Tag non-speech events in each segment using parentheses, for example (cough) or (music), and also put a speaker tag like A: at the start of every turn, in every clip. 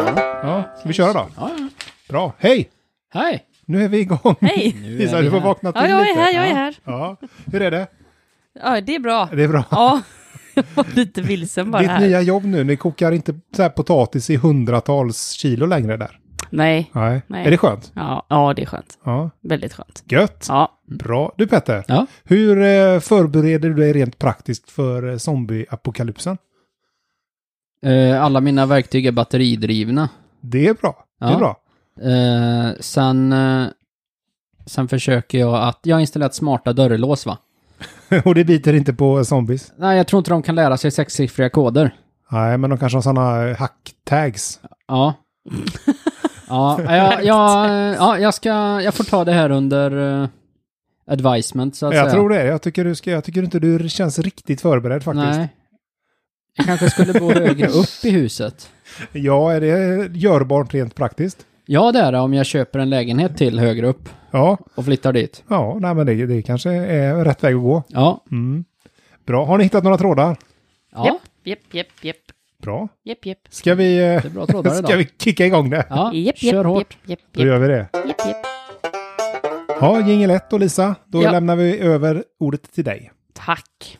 A: Ska vi köra då?
B: Ja, ja.
A: Bra. Hej!
B: Hej!
A: Nu är vi igång.
C: Hej!
B: Nu
A: Lisa,
B: är vi
A: du får
B: här.
A: vakna till
C: Ja, jag är
A: lite.
C: här, jag är här.
A: Ja. Hur är det?
C: Ja, det är bra.
A: Det är bra.
C: Ja, (laughs) jag var lite vilsen bara
A: Ditt
C: här.
A: nya jobb nu, ni kokar inte så här potatis i hundratals kilo längre där?
C: Nej.
A: Nej.
C: Nej.
A: Är det skönt?
C: Ja, ja, det är skönt.
A: Ja.
C: Väldigt skönt.
A: Gött.
C: Ja.
A: Bra. Du Petter,
B: Ja.
A: hur eh, förbereder du dig rent praktiskt för eh, zombieapokalypsen?
B: Eh, alla mina verktyg är batteridrivna.
A: Det är bra. Det är
B: Ja.
A: bra. (laughs)
B: Eh, sen, eh, sen försöker jag att... Jag har installerat smarta dörrlås, va?
A: Och det biter inte på eh, zombies?
B: Nej, jag tror inte de kan lära sig sexsiffriga koder.
A: Nej, men de kanske har eh, sådana hack-tags. (laughs)
B: Ja. ja, jag, jag, ja, jag ska... Jag får ta det här under eh, advisement, så att
A: Jag
B: säga.
A: tror det. Jag tycker, du ska, jag tycker inte du känns riktigt förberedd faktiskt.
B: Nej. Jag kanske skulle
A: (laughs)
B: bo högre upp i huset.
A: Ja, är det görbart rent praktiskt?
B: Ja, det är det om jag köper en lägenhet till högre upp
A: Ja,
B: och flyttar dit.
A: ja nej, men det, det kanske är rätt väg att gå.
B: Ja.
A: Mm. Bra. Har ni hittat några trådar?
B: Ja,
C: Japp, japp, japp, japp,
A: Bra.
C: japp, japp.
A: Ska vi, eh,
B: det är bra trådar
A: (laughs) ska
B: idag.
A: vi kicka igång det?
B: Ja,
C: Japp,
B: kör
C: japp,
B: hårt.
C: japp, japp,
A: Då
C: japp,
A: gör vi det.
C: japp, japp.
A: Ja, jingel 1 och Lisa, då
C: Ja.
A: lämnar vi över ordet till dig.
C: Tack.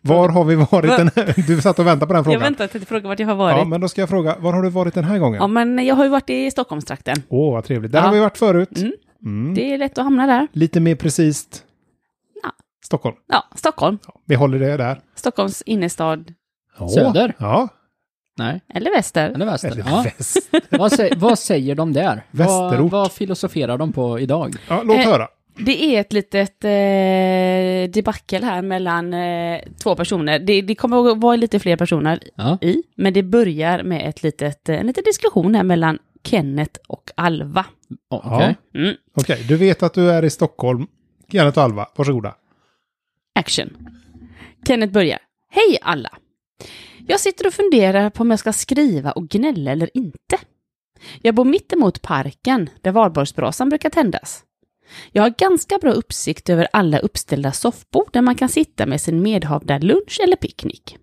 A: Var har vi varit
C: Va?
A: den (laughs) Du satt och väntade på den
C: Jag
A: frågan.
C: väntar till att fråga vart jag har varit.
A: ja, men då ska jag fråga, var har du varit den här gången? Åh,
C: Ja, men jag har ju varit i Stockholmstrakten.
A: vad trevligt. Där
C: Ja.
A: har vi varit förut.
C: Mm.
A: Mm.
C: Det är lätt att hamna där.
A: Lite mer precis.
C: Ja.
A: Stockholm.
C: Ja, Stockholm.
A: Ja, vi håller det där.
C: Stockholms innerstad.
A: Ja.
B: Söder?
A: Ja,
B: Nej,
C: Eller väster.
B: eller väster.
A: eller
B: Ja.
A: väst.
B: (laughs) vad, sä vad säger de där?
A: Västerort.
B: Vad, vad filosoferar de på idag?
A: Ja, låt
C: Eh,
A: höra.
C: Det är ett litet eh, debacle här mellan eh, två personer. Det, det kommer att vara lite fler personer
B: Ja.
C: i, men det börjar med ett litet, eh, en liten diskussion här mellan Kenneth och Alva.
B: o- Okej.
A: Ja.
C: Mm.
A: Okej, du vet att du är i Stockholm. Kenneth och Alva,
B: (laughs)
A: varsågoda.
C: Action. Kenneth börjar. Hej alla! Jag sitter och funderar på om jag ska skriva och gnälla eller inte. Jag bor mitt emot parken där valborgsbrasan brukar tändas. Jag har ganska bra uppsikt över alla uppställda soffbord där man kan sitta med sin medhavda lunch eller picknick.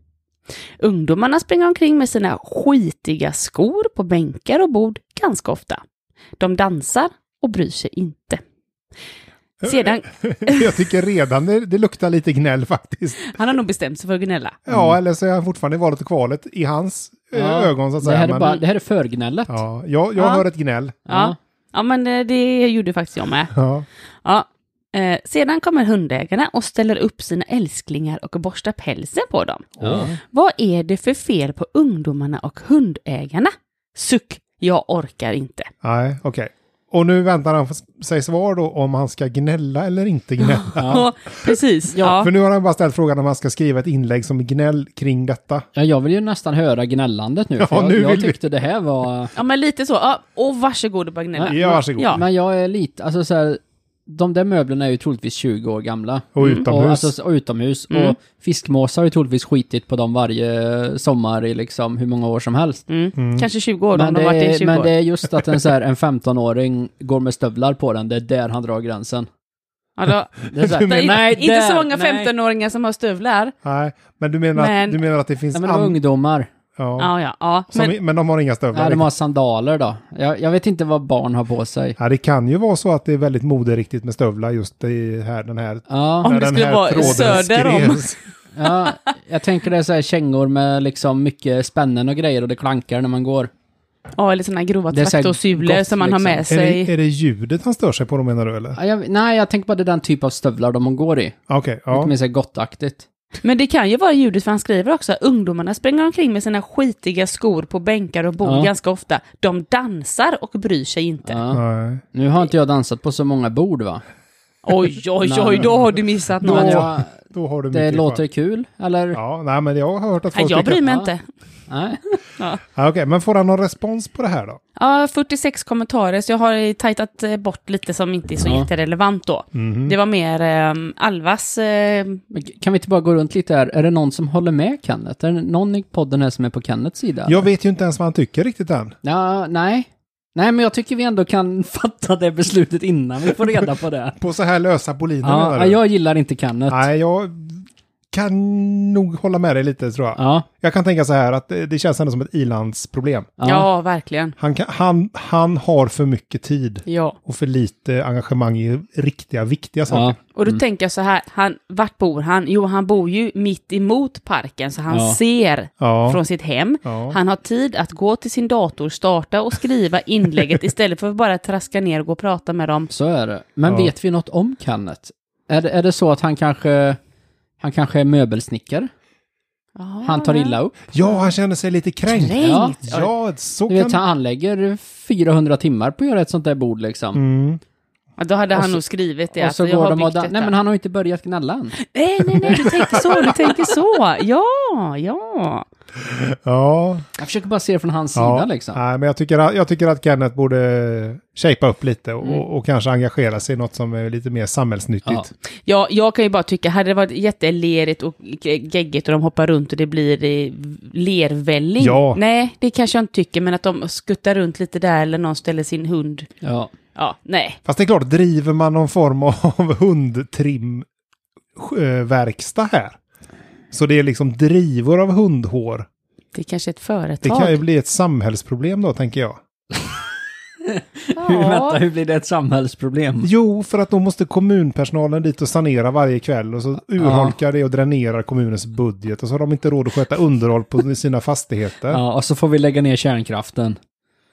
C: Ungdomarna springer omkring med sina skitiga skor på bänkar och bord ganska ofta. De dansar och bryr sig inte. Sedan,
A: jag tycker redan det, det luktar lite gnäll faktiskt.
C: han har nog bestämt sig för att gnälla.
A: Ja, eller så är han fortfarande i valet och kvalet i hans eh,
B: Mm. Ja,
A: ögon så att
B: Det,
A: säga.
B: här är
A: men-
B: bara, det här är förgnället. Ja.
A: Ja, jag jag
C: Ja.
A: hör ett gnäll.
C: Ja. Ja, men eh, det gjorde faktiskt jag med.
A: Ja.
C: Ja. Eh, sedan kommer hundägarna och ställer upp sina älsklingar och borstar pälsen på dem.
B: Ja.
C: Vad är det för fel på ungdomarna och hundägarna? Suck, jag orkar inte.
A: Nej, okej. Och nu väntar han f- sig svar då om han ska gnälla eller inte gnälla.
C: Ja. Precis. Ja.
A: För nu har han bara ställt frågan om han ska skriva ett inlägg som gnäll kring detta.
B: Ja, jag vill ju nästan höra gnällandet nu. För
A: Ja,
B: jag,
A: nu
B: jag
A: vill vi.
B: tyckte det här var...
C: ja, men lite så. Ja. Och varsågod och bara gnälla.
A: Ja, varsågod.
C: Ja.
B: Men jag är lite, alltså så här, de där möblerna är ju troligtvis 20 år gamla.
A: Och
B: Och,
A: utomhus.
B: alltså, och utomhus.
C: Mm.
B: Och fiskmåsar har ju troligtvis skitit på dem varje sommar i liksom hur många år som helst.
C: Mm. Kanske 20 år då,
B: Men
C: om de
B: det,
C: har varit i
B: är,
C: 20
B: men
C: år.
B: det är just att en, så här, en 15-åring går med stövlar på den, det är där han drar gränsen.
C: Ja, då,
A: (laughs)
B: Det är så här,
A: Du
C: det,
A: menar-
B: nej,
C: inte så
B: där,
C: många
B: nej.
C: 15-åringar som har stövlar.
A: Nej, men du menar,
C: Men-
A: Att, du menar att det finns...
B: Nej, men de är
A: an-
B: ungdomar.
A: ja.
C: Ja, ja, ja.
A: Som, i- men de har inga stövlar. liksom.
B: Nej, de har sandaler då. Jag, jag vet inte vad barn har på sig.
A: Ja, det kan ju vara så att det är väldigt moderiktigt med stövlar just i här, den här...
B: Ja,
C: Om
A: när
C: det
A: den
C: skulle
A: här
C: vara
A: tråden
C: söder om.
A: skrevs.
B: ja, jag tänker det är så här kängor med liksom mycket spännen och grejer och det klankar när man går.
C: Ja, eller sådana grova
B: Det är så här
C: traktorsulor
B: gott, liksom.
C: som man har med
A: Är
C: sig.
A: det, är det ljudet han stör sig på då menar du eller?
B: Ja, jag, nej, jag tänker bara det är den typ av stövlar de går i.
A: Ja, Okej,
B: Lite
A: ja.
B: mer så här gottaktigt.
C: Men det kan ju vara ljudet, för han skriver också ungdomarna springer omkring med sina skitiga skor på bänkar och bord
B: Ja.
C: ganska ofta. De dansar och bryr sig inte.
B: Ja.
A: Nej.
B: Nu har inte jag dansat på så många bord va?
C: Oj, oj, oj, då har du missat något.
B: Men
C: Nej,
B: jag,
A: Då har du
B: det
A: mycket
B: låter
A: kvar.
B: kul, eller?
A: Ja, nej men jag har hört att folk
C: jag
A: tycker-
C: bryr mig
B: Ja.
C: inte.
B: Nej.
A: Ja, Okej, men får han någon respons på det här då?
C: Ja, 46 kommentarer, så jag har tajtat eh, bort lite som inte är så
B: Ja. Mhm.
C: jätterelevant då. Det var mer ehm, Alvas... Eh,
B: Men Kan vi inte bara gå runt lite här? Är det någon som håller med Kenneth? Är det någon i podden här som är på Kenneths sida?
A: Jag vet ju inte ens vad han tycker riktigt än.
B: Ja, nej. Nej, men jag tycker vi ändå kan (laughs) fatta det beslutet innan vi får reda på det.
A: På så här lösa boliner menar
B: ja,
A: du?
B: jag gillar inte Kenneth.
A: Nej, jag kan nog hålla med dig lite tror jag.
B: Ja,
A: Jag kan tänka så här att det, det känns ändå som ett ilandsproblem.
B: ja.
C: Ja, verkligen.
A: Han, kan, han, han har för mycket tid
C: Ja.
A: och för lite engagemang i riktiga, viktiga saker.
B: ja.
C: Och då tänker jag så här, han, vart bor han? Jo, han bor ju mitt emot parken, så han
B: Ja.
C: ser
A: Ja.
C: från sitt hem.
A: Ja.
C: Han har tid att gå till sin dator, starta och skriva inlägget istället för att bara traska ner och gå och prata med dem.
B: Så är det. Men
A: Ja.
B: vet vi något om Kenneth? Är det, är det så att han kanske, han kanske är möbelsnickare? Han tar illa upp?
A: ja, han känner sig lite kränkt.
C: Kränkt? Ja.
A: Ja, så
B: Du
A: kan...
B: vet, han lägger 400 timmar på att göra ett sånt där bord liksom.
A: Mm.
C: Då hade
B: Och
C: han
B: så-
C: nog skrivit
B: och
C: det.
B: så
C: att Alltså, jag
B: går
C: har
B: de och
C: byggt
B: dan-
C: detta.
B: Nej men han har inte börjat gnälla än.
C: nej, nej, nej, du tänker så, du tänker
B: (laughs)
C: så. Ja, ja.
A: Ja.
B: Jag försöker bara se det från hans
A: ja.
B: sida liksom.
A: Nej, men jag tycker, att- jag tycker att Kenneth borde shapea upp lite och, och, och kanske engagera sig i något som är lite mer
B: Ja.
A: samhällsnyttigt.
C: Ja, jag kan ju bara tycka, hade det varit jättelerigt och geggigt och de hoppar runt och det blir eh, lervälling.
A: Ja.
C: Nej, det kanske jag inte tycker, men att de skuttar runt lite där eller någon ställer sin hund.
B: Ja.
C: Ja, nej.
A: Fast det är klart, driver man någon form av (laughs) hundtrimverkstad här, så det är liksom drivor av hundhår,
C: Det kanske är ett
A: det
C: företag.
A: kan ju bli ett samhällsproblem då, tänker jag.
B: (laughs) (laughs) Vänta,
C: ja.
B: hur blir det ett samhällsproblem?
A: Jo, för att då måste kommunpersonalen dit och sanera varje kväll och så urholkar det och dränerar kommunens budget och så har de inte råd att sköta underhåll på (laughs) sina fastigheter. Ja,
B: Ja, och så får vi lägga ner kärnkraften.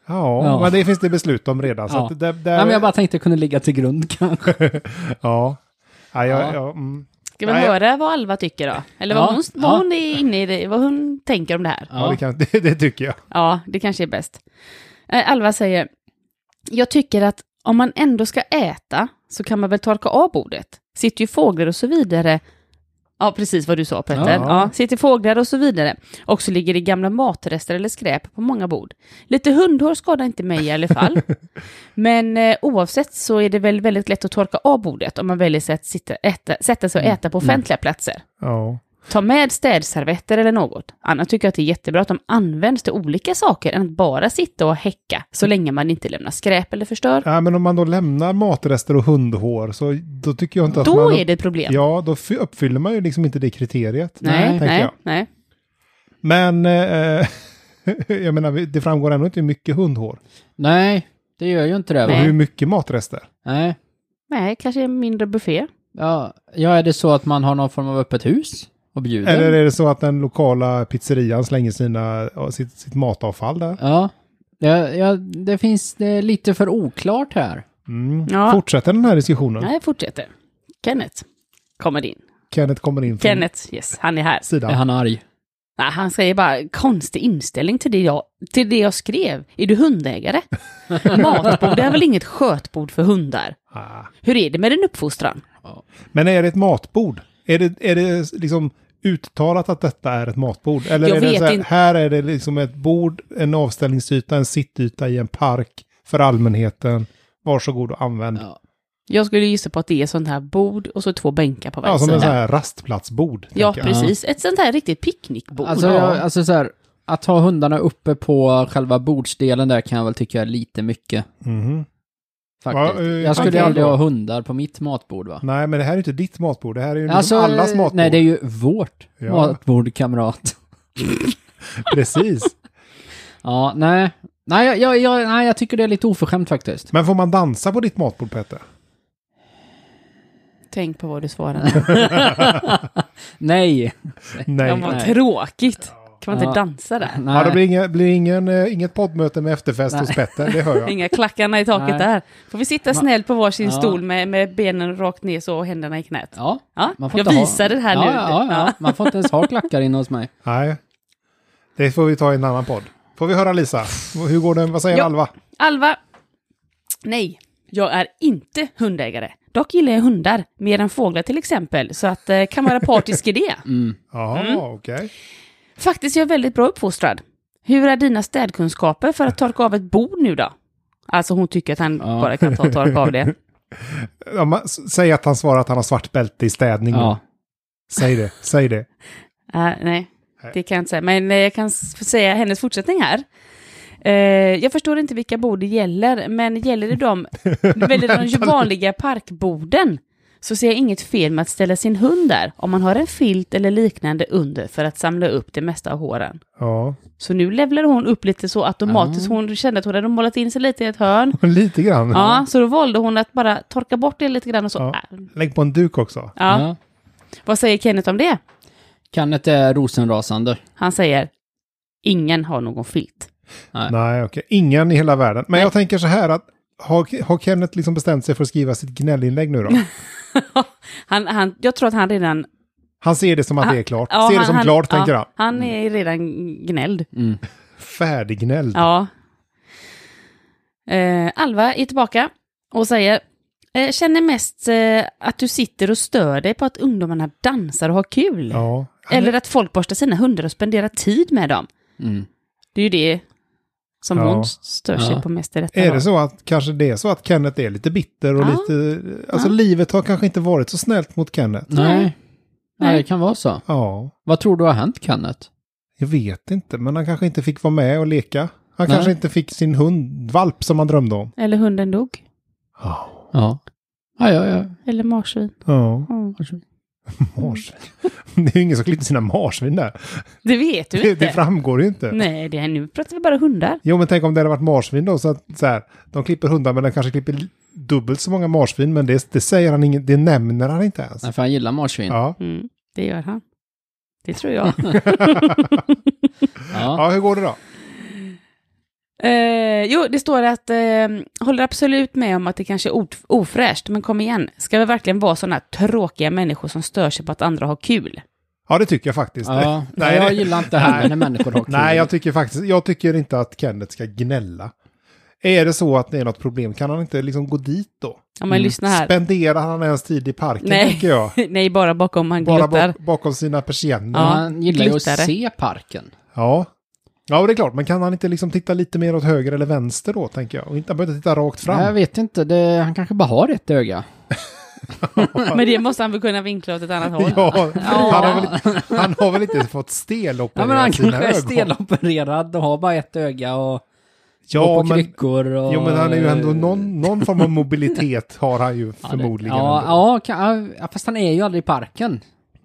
B: Ja.
A: men det finns det beslut om redan. Så
B: Ja.
A: att där, där,
B: Nej, men jag bara tänkte kunde ligga till grund (laughs) kanske.
A: Ja. Ja, jag,
B: Ja.
A: ja, mm.
C: Ska vi
A: Nej.
C: höra vad Alva tycker då? Eller vad,
B: Ja,
C: hon, vad
B: ja.
C: hon är inne i, det, vad hon tänker om det här?
A: ja det, kan, (laughs) det, det tycker jag.
C: Ja, det kanske är bäst. Eh, Alva säger, jag tycker att om man ändå ska äta så kan man väl torka av bordet. Sitter ju fåglar och så vidare. Ja, precis vad du sa Petter.
A: Ja.
C: Ja. sitter fåglar och så vidare. Och så ligger det gamla matrester eller skräp på många bord. Lite hundhår skadar inte mig i alla fall. Men eh, oavsett så är det väl väldigt lätt att torka av bordet om man väljer sig att sitta, äta, sätta sig och äta på offentliga platser.
A: Ja.
C: Ta med städservetter eller något. Annars tycker jag att det är jättebra att de används till olika saker än att bara sitta och häcka så länge man inte lämnar skräp eller förstör.
A: Nej, men om man då lämnar matrester och hundhår så då tycker jag inte att man...
C: Då är det ett problem.
A: Ja, då fy- uppfyller man ju liksom inte det kriteriet.
C: nej,
A: tänker
C: nej,
A: jag.
C: nej.
A: Men eh, (laughs) jag menar, det framgår ändå inte hur mycket hundhår
B: Nej, det gör ju inte det
A: och
B: va?
C: Nej.
A: hur mycket matrester.
B: Nej.
C: Nej, kanske en mindre buffé.
B: Ja, ja, är det så att man har någon form av öppet hus och bjuder?
A: Eller är det så att den lokala pizzerian slänger sina, sitt, sitt matavfall där?
B: Ja. Ja, ja, det finns det är lite för oklart här.
A: Mm.
C: Ja.
A: Fortsätter den här diskussionen?
C: Nej, fortsätter. Kenneth kommer in.
A: Kenneth kommer in från
C: Kenneth, yes, han är här.
B: Är
A: sidan.
B: han arg?
C: Nej, han säger bara konstig inställning till det jag, till det jag skrev. Är du
A: (laughs)
C: hundägare? Matbord är väl inget skötbord för hundar?
A: Ah.
C: Hur är det med din uppfostran?
A: Men är det ett matbord? Är det, är det liksom uttalat att detta är ett matbord? Eller
C: Jag
A: är det
C: vet
A: så här,
C: inte.
A: här är det liksom ett bord, en avställningsyta, en sittyta i en park för allmänheten. Varsågod och använd. Ja,
B: Ja,
C: Jag skulle gissa på att det är sånt här bord och så två bänkar på varje
A: som en
C: sida.
A: sån här rastplatsbord.
C: Ja,
A: tänker jag.
C: precis. Ett sånt här riktigt picknickbord.
B: Alltså, jag, alltså så här, att ha hundarna uppe på själva bordsdelen där kan jag väl tycka är lite mycket.
A: Mhm.
B: Faktiskt.
A: Ja, eh,
B: jag skulle
A: okej
B: aldrig
A: då.
B: ha hundar på mitt matbord va?
A: Nej, men det här är inte ditt matbord. Det här är ju liksom allas
B: eh,
A: matbord.
B: Nej, det är ju vårt
A: Ja.
B: matbord, kamrat. (laughs)
A: (laughs) Precis.
B: Ja, nej. Nej jag, jag, jag, nej, jag tycker det är lite oförskämt faktiskt.
A: Men får man dansa på ditt matbord, Petter?
C: Tänk på vad
A: (laughs)
C: du svarar.
B: Nej.
C: Ja,
A: Nej.
C: vad
B: nej.
C: tråkigt. Kan man inte
B: Ja.
C: dansa där?
B: nej.
A: Ja, det blir, inget, blir ingen, eh, inget poddmöte med efterfest hos Petter, det hör
C: (laughs)
A: jag.
C: Inga klackarna i taket
B: Nej.
C: där. Får vi sitta snällt på varsin
B: Ja.
C: stol med, med benen rakt ner så och händerna i knät?
B: Ja.
C: Ja,
B: Man får
C: jag
B: inte ha-
C: visar det här
B: ja,
C: nu.
B: Ja, ja, man får inte ens ha klackar inne hos mig.
A: Nej, det får vi ta i en annan podd. Får vi höra Lisa? Hur går det, vad säger
C: Ja.
A: Alva?
C: Alva. Nej, jag är inte hundägare. Dock gillar jag hundar, mer än fåglar till exempel, så att eh, kan vara partisk i det.
A: Ja,
C: Mm.
A: okej.
C: Faktiskt är jag väldigt bra uppfostrad. Hur är dina städkunskaper för att torka av ett bord nu då? Alltså hon tycker att han
B: Ja.
C: bara kan ta och torka av det. Eh,
A: Ja, man- s- Säg att han svarar att han har svart bälte i städning.
B: Ja.
A: Säg det, säg det.
C: Eh, nej,
A: Nej.
C: det kan jag inte säga. Men eh, jag kan s- säga hennes fortsättning här. Eh, jag förstår inte vilka bord det gäller, men gäller det dem, väljer de ju vanliga parkborden så ser jag inget fel med att ställa sin hund där om man har en filt eller liknande under för att samla upp det mesta av håren.
A: Ja, (laughs)
C: Så nu levlade hon upp lite så automatiskt.
B: Ah.
C: Hon kände att hon hade målat in sig lite i ett hörn.
A: lite grann.
C: Ja, så då valde hon att bara torka bort det lite grann och så.
A: Ja.
C: Ja.
A: Lägg på en duk också.
C: Ja. Vad säger Kenneth om det?
B: Kenneth är rosenrasande.
C: Han säger, ingen har någon filt. (laughs)
B: Nej.
A: Nej, okej. Ingen i hela världen. Men jag tänker så här att har, har Kenneth liksom bestämt sig för att skriva sitt gnällinlägg nu då?
C: (laughs) Han, han, jag tror att han redan...
A: Han ser det som att det är klart.
C: Ja,
A: ser det
C: han-
A: som
C: han-
A: klart,
C: ja,
A: tänker Mm. han.
C: Han är redan gnälld.
B: Mm.
A: Färdiggnälld.
C: Ja. Eh, Alva är tillbaka och säger, eh, känner mest eh, att du sitter och stör dig på att ungdomarna dansar och har kul.
A: Ja. Han är-
C: Eller att folk borstar sina hundar och spenderar tid med dem.
B: Mm.
C: Det är ju det som
A: Ja.
C: hon stör sig
B: Ja.
C: på mest i detta.
A: Är
C: val.
A: det så att kanske det är så att Kenneth är lite bitter och
C: Ja.
A: lite... Alltså
C: Ja.
A: livet har kanske inte varit så snällt mot Kenneth.
B: Nej. Nej,
C: Nej.
B: det kan vara så.
A: Ja,
B: Vad tror du har hänt, Kenneth?
A: jag vet inte. Men han kanske inte fick vara med och leka. Han
B: Nej.
A: kanske inte fick sin hund, valp som han drömde om.
C: Eller hunden dog.
A: Ja.
B: Ja. Ja, ja, ja.
C: Eller marsvin.
A: Ja,
C: Mm.
A: marsvin. (laughs) Det är ju ingen som klipper sina marsvin där.
C: Det vet du
A: Det,
C: inte.
A: det framgår ju inte.
C: Nej, det är, nu pratar vi bara hundar.
A: Jo, men tänk om det hade varit marsvin då. Så att, så här, de klipper hundar, men de kanske klipper li- dubbelt så många marsvin. Men det, det säger han ingen, det nämner han inte ens.
B: Nej, för han gillar marsvin. Ja.
A: Ja.
C: Mm, det gör han. Det tror jag.
A: (laughs)
B: Ja.
A: ja, hur går det då?
C: eh, jo, det står att eh, håller absolut med om att det kanske är ot- ofräscht, men kom igen. Ska vi verkligen vara sådana tråkiga människor som stör sig på att andra har kul?
A: Ja, det tycker jag faktiskt.
B: Nej,
A: Nej,
B: jag
A: det-
B: gillar inte heller när människor har kul.
A: Äh. Nej, jag tycker faktiskt jag tycker inte att Kenneth ska gnälla. Är det så att det är något problem, kan han inte liksom gå dit då?
C: Ja, men
B: Mm.
C: lyssna här.
A: Spenderar han ens tid i parken,
C: Nej.
B: (laughs)
A: tänker jag.
C: (laughs) Nej, bara bakom han
A: Bara
C: gluttar.
A: bak, bakom sina persienner.
B: Ja,
A: Ja.
B: han gillar ju att
C: glittare.
B: se parken.
A: ja. och det är klart, men kan han inte liksom titta lite mer åt höger eller vänster då, tänker jag? Och inte, han behöver inte titta rakt fram.
B: Nej, jag vet inte, det, han kanske bara har ett öga.
C: Men det måste han väl kunna vinkla åt ett annat håll?
A: (laughs) Ja, han, har väl, inte- han har väl inte fått
B: Ja,
A: steloperera
B: men han
A: sina
B: kanske är
A: ögon?
B: stelopererad och har bara ett öga och går på
A: ja, men,
B: kryckor och...
A: jo, men han är ju ändå någon, någon form av mobilitet har han ju
B: Ja, det-
A: förmodligen.
B: Ja,
A: ändå.
B: ja, kan, ja, fast han är ju aldrig i parken.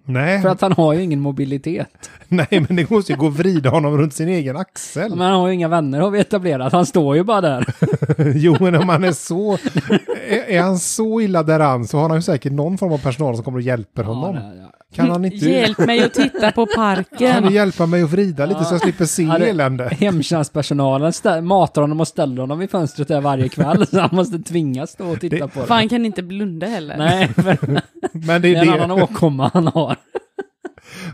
A: Nej,
B: För att han har ju ingen mobilitet.
A: (laughs) nej, men det måste ju gå att vrida honom runt sin egen axel. (laughs)
B: Men han har ju inga vänner har vi etablerat, han står ju bara där.
A: Jo, men om han är så... Är, är han så illa däran så har han ju säkert någon form av personal som kommer och hjälper honom.
B: Ja, ja.
A: Kan han inte...
C: Hjälp mig att titta på
A: (laughs) Kan du
C: parken.
A: hjälpa mig att vrida lite så jag slipper se
B: Ja, det-
A: elände?
B: Hemtjänstpersonalen stä- matar honom och ställer honom i fönstret där varje kväll, så han måste tvingas stå och titta
A: Det-
B: på det.
C: Fan kan inte blunda heller.
B: Nej, för
A: Men det
B: det är
A: är
B: en
A: det.
B: annan åkomma han har.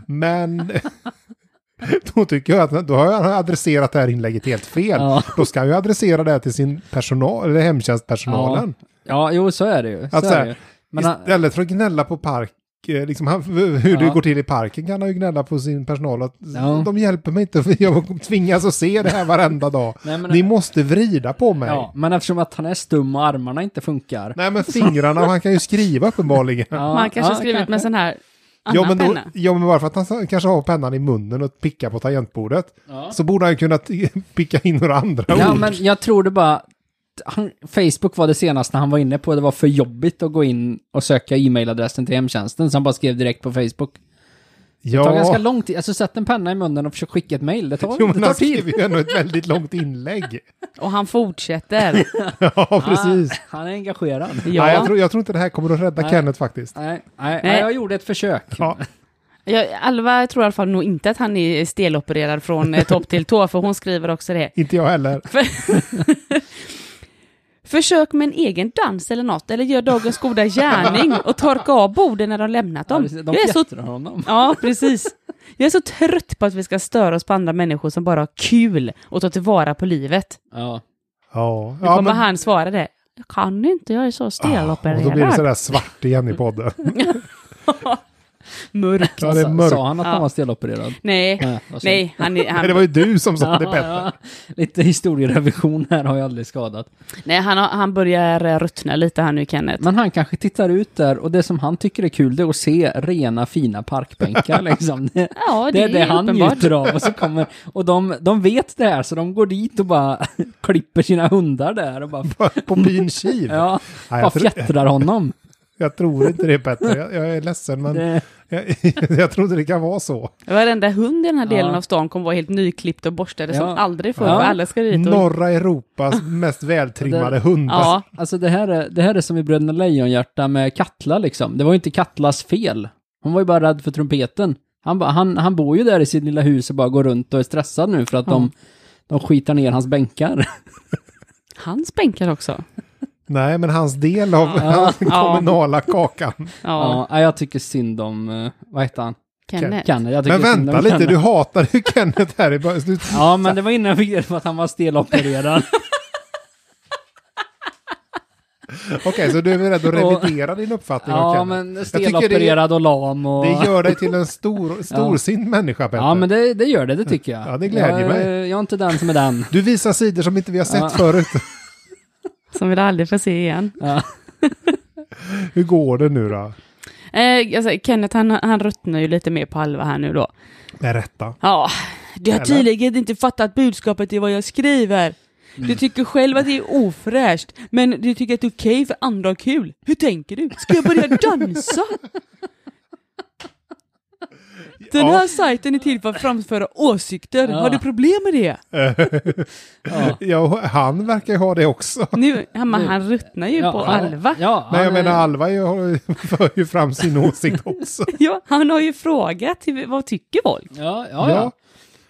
A: Men (laughs) då tycker jag att då har han adresserat det här inlägget helt fel.
B: Ja.
A: Då ska han ju adressera det här till sin personal, eller hemtjänstpersonalen.
B: Ja, jo, så är det ju. Så
A: Alltså,
B: är det ju. Men äh, han,
A: Istället för att gnälla på park, eh, liksom (laughs) han, hur det
B: Ja.
A: går till i parken kan han ju gnälla på sin personal att
B: Ja.
A: de hjälper mig inte, (laughs) för jag tvingas att se det här varenda dag.
B: (laughs) Nej, men- äh,
A: Ni måste vrida på mig.
B: ja, men eftersom att han är stum och armarna inte funkar. (laughs)
A: Nej men fingrarna, han kan ju skriva uppenbarligen.
B: Ja,
C: Man kanske
B: ja,
C: skrivit med sån här annan
A: Ja men, då,
C: penna.
A: ja men bara för att han så- kanske har pennan i munnen och pickar på tangentbordet
B: Ja.
A: så borde han ju kunna t- (laughs) picka in några andra
B: Ja,
A: ord.
B: men jag tror det bara... Han, Facebook var det senaste han var inne på. Det var för jobbigt att gå in och söka e-mailadressen till hemtjänsten, så han bara skrev direkt på Facebook. Det tar ganska
A: ja.
B: lång tid. Alltså, sätt en penna i munnen och försök skicka ett mejl. Det tar,
A: (laughs) Jo,
B: det
A: men alltså,
B: tar
A: han
B: tid.
A: skrev ju ändå ett väldigt långt inlägg.
C: Och han fortsätter.
A: Ja, precis.
B: Ah, han är engagerad.
C: Ja.
A: Nej, jag, tror, jag tror inte det här kommer att rädda
B: Nej.
A: Kenneth faktiskt.
B: Nej, nej,
C: Nej.
B: nej, jag gjorde ett försök.
A: Ja.
C: Jag, Alva tror i alla fall nog inte att han är stelopererad från eh, topp till tå, för hon skriver också det.
A: Inte jag heller.
C: Försök med en egen dans eller något, eller gör dagens goda gärning och torka av borden när de lämnat dem.
B: de
C: jag är så,
B: fjättrar honom.
C: ja, precis. Jag är så trött på att vi ska störa oss på andra människor som bara har kul och tar tillvara på livet.
B: Ja.
A: Ja,
C: Nu
A: ja
C: kommer han svara det. Jag kan inte, jag är så
A: och då blir det
C: stelopererad.
A: sådär svart igen i podden.
B: (laughs)
C: Mörkt.
A: Ja, det är
B: Sa-
A: mörkt.
B: Sa han att
C: Ja.
B: han var stelopererad?
C: Nej,
B: vad synd.
C: nej, han, är-
A: Nej,
C: han,
A: det var ju du som sa det
B: Ja,
A: Petter.
B: (laughs)
A: (laughs)
B: ja. Lite historierevision här har jag aldrig skadat.
C: Nej, han, har- han börjar eh, ruttna lite här nu, Kenneth.
B: Men han kanske tittar ut där och det som han tycker är kul det är att se rena fina
A: (laughs)
B: parkbänkar liksom. Det,
C: Ja, det,
B: det är
C: är,
B: det han
C: uppenbart.
B: njuter av och så kommer, och de, de vet det här så de går dit och bara (laughs) klipper sina hundar där och bara,
A: På pin kiv.
B: ja,
A: Nej,
B: bara
A: jag, tror,
B: fjättrar honom.
A: Jag tror inte det Petter. Jag, jag är ledsen men
B: Det,
A: jag, (laughs) jag tror inte det kan vara så.
C: Varenda hund i den här delen
B: Ja.
C: av stan kommer vara helt nyklippt och borstade som
B: Ja.
C: aldrig förr.
B: Ja.
C: och Alla ska dit och...
A: Norra Europas mest vältrimmade hundar.
C: Ja,
B: alltså det här, är, det här är som i Bröderna Lejonhjärta med Katla liksom. Det var ju inte Katlas fel. Hon var ju bara rädd för trumpeten. Han, ba- han, han bor ju där i sitt lilla hus och bara går runt och är stressad nu för att de, de skitar ner hans bänkar. (laughs)
C: hans bänkar också.
A: Nej, men hans del av (laughs) den
C: Ja.
A: kommunala kakan.
C: Ja,
B: Ja. jag tycker synd om, eh, vad heter han?
C: Kenneth.
B: Kenneth. Jag tycker
A: Men
B: synd
A: vänta
B: om
A: lite,
B: Kenneth.
A: du hatade ju Kenneth här i början. Du-
B: Ja, men det var innan jag fick reda på att han var
A: (laughs)
B: stelopererad.
A: Okej, så du är väl rädd att revidera din uppfattning om
B: ja,
A: Kenneth?
B: men
A: Jag tycker
B: stelopererad och lam och...
A: Det, det gör dig till en stor, storsint människa, Petter.
B: Ja, men det, det gör det, det tycker jag.
A: Ja, det glädjer
B: jag, eh,
A: mig.
B: Jag är inte den som är
A: (laughs)
B: den.
A: Du visar sidor som inte vi har sett
B: Ja.
A: förut.
C: Som vi aldrig får se igen.
B: Ja.
A: Hur går det nu då?
C: Eh, alltså, Kenneth han, han ruttnar ju lite mer på halva här nu då.
A: Med rätta.
C: Ja, du har
A: Eller?
C: tydligen inte fattat budskapet i vad jag skriver. Du tycker själv att det är ofräscht, men du tycker att det är okej för andra har kul. Hur tänker du? Ska jag börja dansa? Den
A: Ja.
C: här sajten är till för att framföra åsikter.
B: Ja.
C: Har du problem med det?
B: Ja.
A: Ja, han verkar ju ha det också.
C: Nu, han, men han ruttnar ju
B: Ja,
C: på
B: han-
C: Alva. (laughs)
B: Ja,
C: Ja.
A: Nej, jag
B: han är-
A: menar Alva ju- har ju- (laughs) för ju
B: (laughs)
A: fram sin åsikt också.
C: han har ju frågat till- vad tycker folk?
B: Ja, ja,
A: Ja.
B: ja.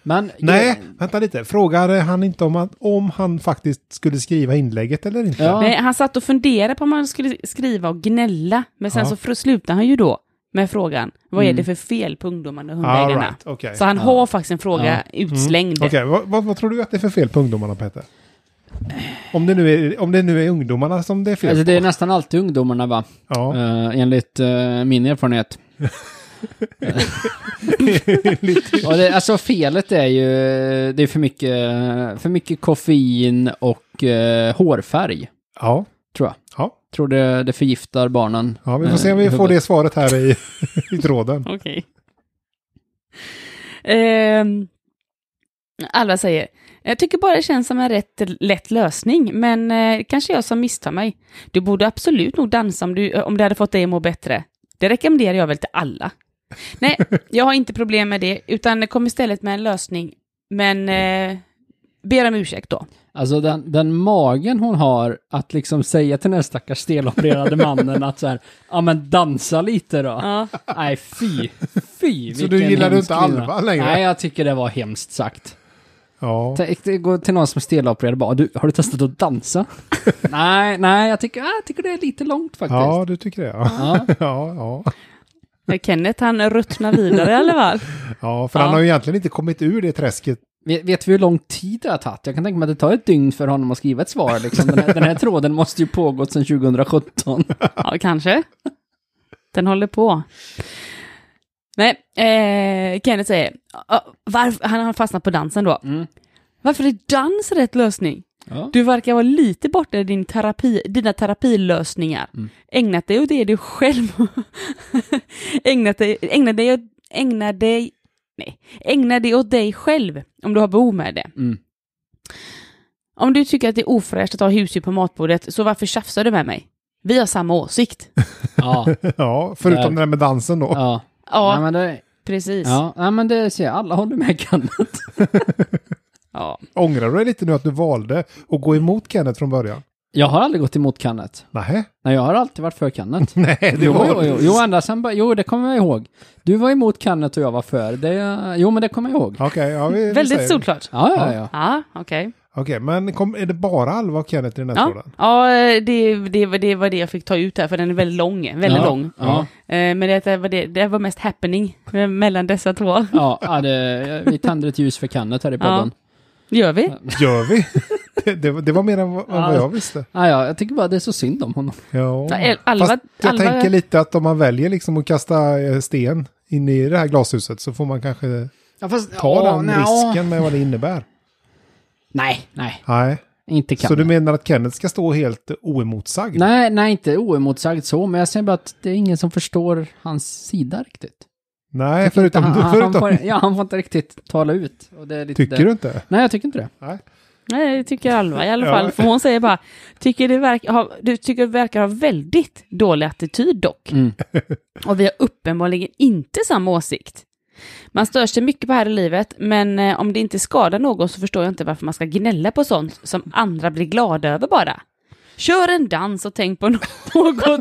B: Men...
A: Nej, vänta lite. Frågade han inte om, att, om han faktiskt skulle skriva inlägget eller inte?
B: Ja.
C: Nej, han satt och funderade på om han skulle skriva och gnälla, men sen
A: Ja.
C: så fr- slutade han ju då med frågan, vad är
B: Mm.
C: det för fel på ungdomarna och
A: All
C: hundägarna?
A: right, okej.
C: Så han
B: Ja.
C: har faktiskt en fråga utslängd.
A: Okej, vad, vad, vad tror du att det är för fel på ungdomarna, Peter? Om det nu är, om det nu är ungdomarna som det är fel
B: Alltså
A: på.
B: det är nästan alltid ungdomarna va?
A: Ja,
B: Eh, enligt eh, min
A: (laughs)
B: erfarenhet.
A: lite.
B: Och det, alltså felet är ju, det är för mycket, för mycket koffein och eh, hårfärg,
A: Ja,
B: tror jag.
A: ja,
B: Tror det, det förgiftar barnen.
A: ja, vi får se
B: eh,
A: om vi
B: i
A: får
B: huvudet.
A: det svaret här i, (laughs) i tråden.
C: Okej. Ehm, Alva säger, jag tycker bara det känns som en rätt lätt lösning, men eh, kanske jag som misstar mig. Du borde absolut nog dansa om, du, eh, om det hade fått dig att må bättre. Det rekommenderar jag väl till alla. Nej, jag har inte problem med det, utan kom istället med en lösning, men eh, ber om ursäkt då.
B: Alltså den, den magen hon har att liksom säga till den här stackars stelopererade mannen att så här, ja men dansa lite då.
C: Ja.
B: Nej fy, fy
A: Så du
B: vilken
A: gillar du
B: hemsk
A: inte
B: kvinna.
A: Alva längre?
B: Nej jag tycker det var hemskt sagt.
A: Ja.
B: Tänk dig gå till någon som är stelopererad och bara, du, har du testat att dansa? nej, nej jag tycker, ja, jag tycker det är lite långt faktiskt.
A: ja, du tycker det. Ja, (laughs)
B: Ja.
A: ja, ja.
C: Eh, Kenneth, han ruttnar vidare i alla fall.
A: ja för
C: Ja.
A: han har ju egentligen inte kommit ur det träsket. (laughs)
B: Vet, vet vi hur lång tid det har tagit? Jag kan tänka mig att det tar ett dygn för honom att skriva ett svar. Liksom. Den, här, den här tråden måste ju pågått sedan 2017.
C: Ja, kanske. Den håller på. Nej, eh, Kenneth säger, "Ah, varför, han har fastnat på dansen då.
B: Mm.
C: Varför är dans rätt lösning?
B: Ja.
C: Du verkar vara lite borta i din terapi, dina terapilösningar.
B: Mm.
C: Ägnat dig åt det du själv (laughs) ägnat dig, ägna dig, åt- ägna dig, nej, ägna dig åt dig själv om du har behov med det.
B: Mm.
C: Om du tycker att det är ofräscht att ha husdjur på matbordet, så varför tjafsar du med mig? Vi har
B: (laughs)
C: samma åsikt.
B: Ja.
A: Ja, förutom
B: Där.
A: det där med dansen då.
B: ja.
C: Ja,
B: Nej, men det,
C: precis.
B: ja. Nej, men det ser jag. Alla håller med Kenneth.
C: Ja.
A: (laughs) Ångrar du dig lite nu att du valde att gå emot Kenneth från början?
B: Jag har aldrig gått emot Kenneth.
A: Nej,
B: Nej, jag har alltid varit för Kenneth.
A: (laughs) nej, (laughs) det
B: Jo,
A: var...
B: jo, jo, jo, ända sen, bara- jo, det kommer jag ihåg. Du var emot Kenneth och jag var för. Det, jo, men det kommer jag ihåg.
A: Okej, ja, vi, vi
C: Väldigt
A: säger-
C: solklart.
B: Ja, ja, ja.
C: Ja, okej.
A: Okej, men kom, är det bara Alva och Kenneth i den här
C: Ja,
A: tråden?
C: ja eh, det, det, var- det var det jag fick ta ut här, för den är väldigt lång. Väldigt
B: ja,
C: lång.
B: Ja,
C: Eh, Men det var, det, det var mest happening eh, mellan dessa två.
B: ja, ja det, vi tänder ett ljus för Kenneth här i podden.
C: Gör vi?
A: Gör vi? (laughs) det, det, var- det var mer än vad, än vad jag visste.
B: Ja, ja, jag tycker bara det är så synd om honom.
A: Ja.
C: Ja, El- Alva-
A: Fast jag
C: Alva-
A: tänker lite att om man väljer liksom att kasta eh, sten in i det här glashuset så får man kanske
B: Ja, fast,
A: ta
B: ja,
A: den
B: nej, ja.
A: risken med vad det innebär.
B: Nej, nej,
A: Nej,
B: inte Kenneth.
A: så du menar att Kenneth ska stå helt oemotsagd?
B: Nej, nej, inte oemotsagd så, men jag säger bara att det är ingen som förstår hans sida riktigt.
A: Nej, förutom,
B: han,
A: du,
B: han,
A: förutom
B: får, ja, han får inte riktigt tala ut. Och det är lite
A: Tycker
B: det.
A: du inte?
B: Nej, jag tycker inte det.
A: Nej.
C: Nej, det tycker Alva i alla fall.
A: Ja.
C: För hon säger bara, tycker det verk, ha, du tycker det verkar ha väldigt dålig attityd dock.
B: Mm.
C: (laughs) Och vi har uppenbarligen inte samma åsikt. Man stör sig mycket på här i livet, men eh, om det inte skadar någon så förstår jag inte varför man ska gnälla på sånt som andra blir glada över bara. Kör en dans och tänk på (laughs) något.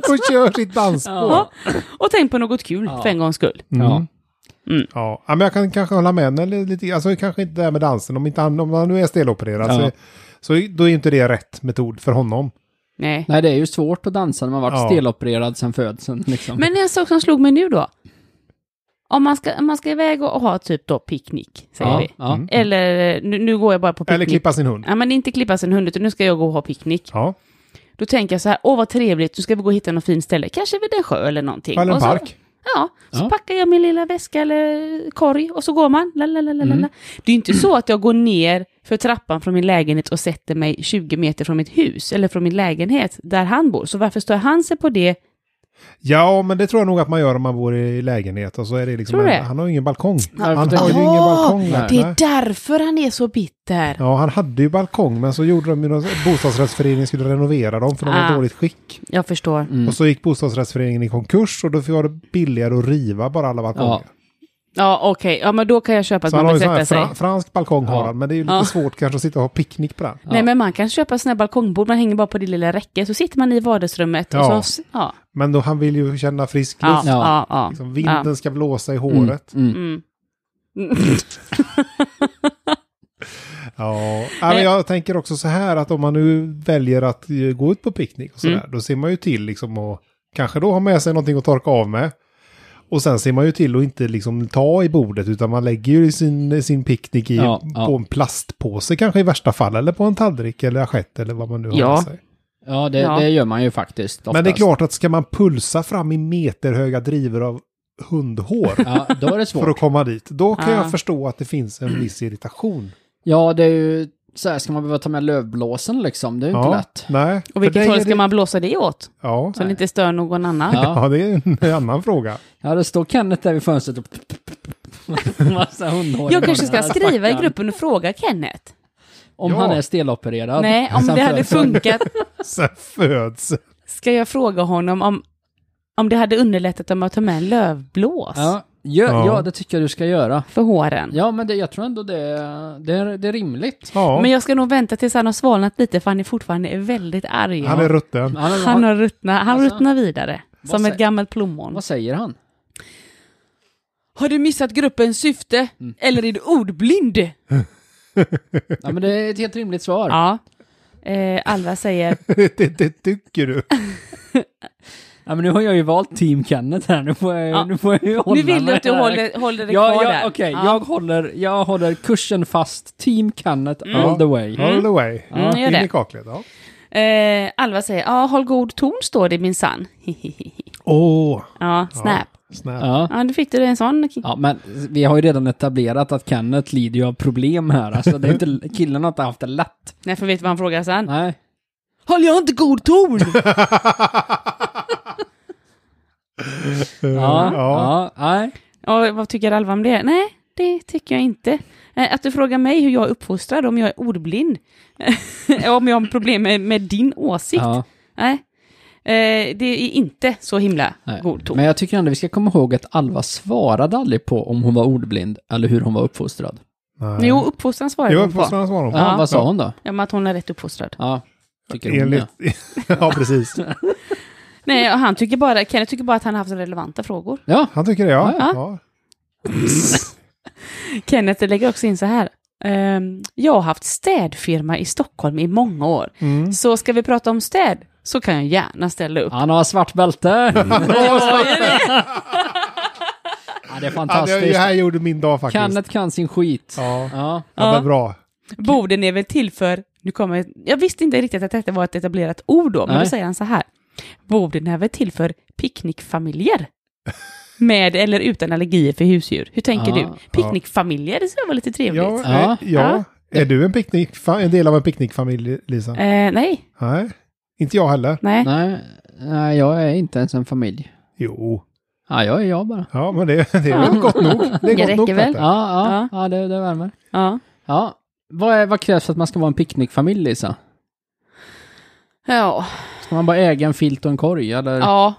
A: Och kör sitt dansspår.
C: Ja, och tänk på något kul
B: Ja.
C: för en gångs skull.
A: Mm.
B: Ja.
C: Mm.
A: Ja, ja, men jag kan kanske hålla med henne lite. Alltså kanske inte det här med dansen. Om, inte han, om han nu är stelopererad
B: Ja.
A: så, så då är ju inte det rätt metod för honom.
C: Nej.
B: Nej, det är ju svårt att dansa när man varit
A: Ja.
B: stelopererad sedan födseln. Liksom.
C: Men en sak som slog mig nu då. Om man ska, om man ska iväg och ha typ då picknick, säger
B: ja,
C: vi.
B: ja.
A: Mm.
C: Eller eh, nu, nu går jag bara på picknick.
A: Eller klippa sin hund.
C: Ja, men inte klippa sin hund, utan nu ska jag gå och ha picknick.
A: Ja,
C: Då tänker jag så här, åh vad trevligt, nu ska vi gå och hitta något fint ställe, kanske vid en sjö eller någonting.
A: eller en
C: och så,
A: park.
C: Ja, så
B: Ja.
C: packar jag min lilla väska eller korg och så går man. La, la, la, la, la.
B: Mm.
C: la. Det är ju inte så att jag går ner för trappan från min lägenhet och sätter mig 20 meter från mitt hus eller från min lägenhet där han bor. Så varför står han sig på det?
A: Ja, men det tror jag nog att man gör om man bor i lägenhet. Och så är det liksom
C: Tror du
A: en,
C: det?
A: han har ju ingen balkong.
B: Nej,
A: Han
B: för
A: har ju
B: det-
A: ingen
C: Ja,
A: balkong.
B: det är
C: Det
A: Nej.
C: är därför han är så bitter.
A: Ja, han hade ju balkong, men så gjorde de ju någon bostadsrättsföreningen skulle renovera dem för de var
C: Ah.
A: i dåligt skick.
C: Jag förstår.
B: Mm.
A: Och så gick bostadsrättsföreningen i konkurs och då var det billigare att riva bara alla balkonger.
C: Ja, okej. Ja, men då kan jag köpa att
A: så han har
C: man vill
A: ju sån här
C: sätta sig.
A: fra, fransk balkong har
B: Ja.
A: han, men det är ju lite
C: Ja.
A: svårt kanske att sitta och ha picknick på den.
B: Ja.
C: Nej, men man kan köpa sådana här balkongbord, man hänger bara på det lilla räcket, så sitter man i vardagsrummet
A: Ja.
C: och så... Ja,
A: Men då, han vill ju känna frisk
C: ja,
A: luft.
C: ja. ja.
A: Liksom, vinden ska blåsa i håret.
B: Mm. Mm.
C: Mm.
A: (laughs) Ja. Ja, men jag tänker också så här att om man nu väljer att eh, gå ut på picknick och sådär,
B: Mm.
A: då ser man ju till liksom att kanske då ha med sig någonting att torka av med. Och sen ser man ju till att inte liksom ta i bordet utan man lägger ju sin, sin picknick i,
B: Ja, ja.
A: på en plastpåse kanske i värsta fall eller på en tallrik eller assiett eller vad man nu har
C: Ja.
A: med sig.
B: Ja, det,
C: Ja.
B: det gör man ju faktiskt oftast.
A: Men det är klart att ska man pulsa fram i meterhöga drivor av hundhår
B: Ja, då är det
A: (laughs) för
B: svårt.
A: att komma dit, då kan
C: Ja.
A: jag förstå att det finns en viss irritation.
B: Ja, det är ju så här, ska man behöva ta med lövblåsen liksom? Det är ju (clears throat) inte lätt.
A: Nej. För
C: Och vilket
A: dig
C: håll
A: är
C: ska
A: det-
C: man blåsa det åt?
A: Ja.
C: Så det inte stör någon annan.
B: Ja.
A: ja, det är en (laughs) annan fråga.
B: Ja, det står Kenneth där vid fönstret och... (laughs) Massa hundhår.
C: Jag kanske ska
B: Ja,
C: skriva i
B: stackarn.
C: gruppen och fråga Kenneth.
B: Om
A: Ja.
B: han är stelopererad.
C: Nej, om
B: Sen
A: (laughs)
C: det hade
B: födelsen.
C: funkat,
A: Sen föds.
C: ska jag fråga honom om, om det hade underlättat om jag tar med en lövblås
B: Ja, gör,
A: Ja.
B: ja. det tycker jag du ska göra.
C: för håren?
B: Ja, men det, jag tror ändå det, är- det, är, det är rimligt.
A: Ja,
C: Men jag ska nog vänta tills han har svalnat lite, för han är fortfarande väldigt arg.
A: han är rutten.
B: Han,
C: Han har ruttnat, han
B: Alltså,
C: ruttnar vidare.
B: vad
C: Som ett
B: säger-
C: gammalt plommon.
B: Vad säger han?
C: Har du missat gruppens syfte?
B: Mm.
C: Eller är du ordblind?
B: Ja, men det är ett helt rimligt svar.
C: Ja. Eh,
B: (laughs)
C: Alva säger,
A: (laughs) det, det tycker du.
B: Ja, men nu har jag ju valt Team Kenneth här. Nu får jag,
C: Ja.
B: nu får jag ju hålla
C: nu vill du
B: mig
C: att du
B: här.
C: håller, håller dig
B: Ja,
C: kvar
B: ja,
C: där.
B: okej. Jag, håller, jag håller kursen fast. Team Kenneth all the way.
A: All the way.
C: Mm, gör
A: In i
C: det.
A: kaklet. Ja.
C: Eh, Alva säger, ja, håll god ton står det (laughs) minsann.
A: Åh.
C: ja, snap.
A: Snap.
B: Ja.
C: Ja, nu fick du en sån.
B: ja, men vi har ju redan etablerat att Kenneth lider ju av problem här. Alltså, det är inte, killen har inte haft det lätt.
C: Nej, för vet du vad han frågar sen?
B: Nej.
C: Håller jag inte god ton?
B: Ja,
A: Ja.
B: ja, nej.
C: (laughs) Ja, vad tycker Alva om det? Nej, det tycker jag inte. Eh, Att du frågar mig hur jag är uppfostrad, om jag är ordblind, (laughs) om jag har problem med, med din åsikt.
B: Ja,
C: Nej, eh, det är inte så himla
B: nej.
C: god ton.
B: Men jag tycker ändå vi ska komma ihåg att Alva svarade aldrig på om hon var ordblind eller hur hon var uppfostrad.
A: Nej.
C: Jo, uppfostran svarade
A: Jo,
C: hon på.
A: uppfostrarnas var de.
B: Ja,
C: Ja.
B: vad sa hon då?
C: Ja, men att hon är rätt uppfostrad.
B: Ja, tycker hon det?
A: Enligt... (laughs) ja, precis.
C: Nej, och han tycker bara, Kenneth tycker bara att han har haft relevanta frågor.
B: Ja,
A: Han tycker det, ja.
C: Ja.
A: ja.
C: Kenneth lägger också in så här. ehm, jag har haft städfirma i Stockholm i många år. Så ska vi prata om städ så kan jag gärna ställa upp.
B: han har svart bälte. (laughs) ja, det är
A: ja det, det
B: fantastiskt.
A: här gjorde min dag faktiskt.
B: Kenneth kan sin skit.
A: Ja.
B: Ja.
A: Ja, men
C: Ja.
A: bra.
C: Borden är väl till för, nu kommer, jag visste inte riktigt att detta var ett etablerat ord då, men
B: Nej.
C: då säger han så här. Borden är väl till för picknickfamiljer? (laughs) Med eller utan allergier för husdjur. Hur tänker
B: Ja,
C: du? Picknickfamiljer, det ser väl lite trevligt?
A: Ja,
B: Ja.
A: eh, ja. Är du en, picknick, fa- en del av en picknickfamilj, Lisa?
C: Eh, nej,
A: Nej. Inte jag heller.
C: nej.
B: Nej, nej, jag är inte ens en familj.
A: Jo.
B: Ja, jag är jag bara.
A: Ja, (laughs) men det, det är väl gott nog. Det är
C: Det
A: gott nog.
C: räcker väl?
A: Petter.
B: Ja, ja, ja. det, det värmer.
C: Ja.
B: Ja, Vad, är, vad krävs för att man ska vara en picknickfamilj, Lisa?
C: Ja,
B: Ska man bara äga en filt och en korg, eller?
C: ja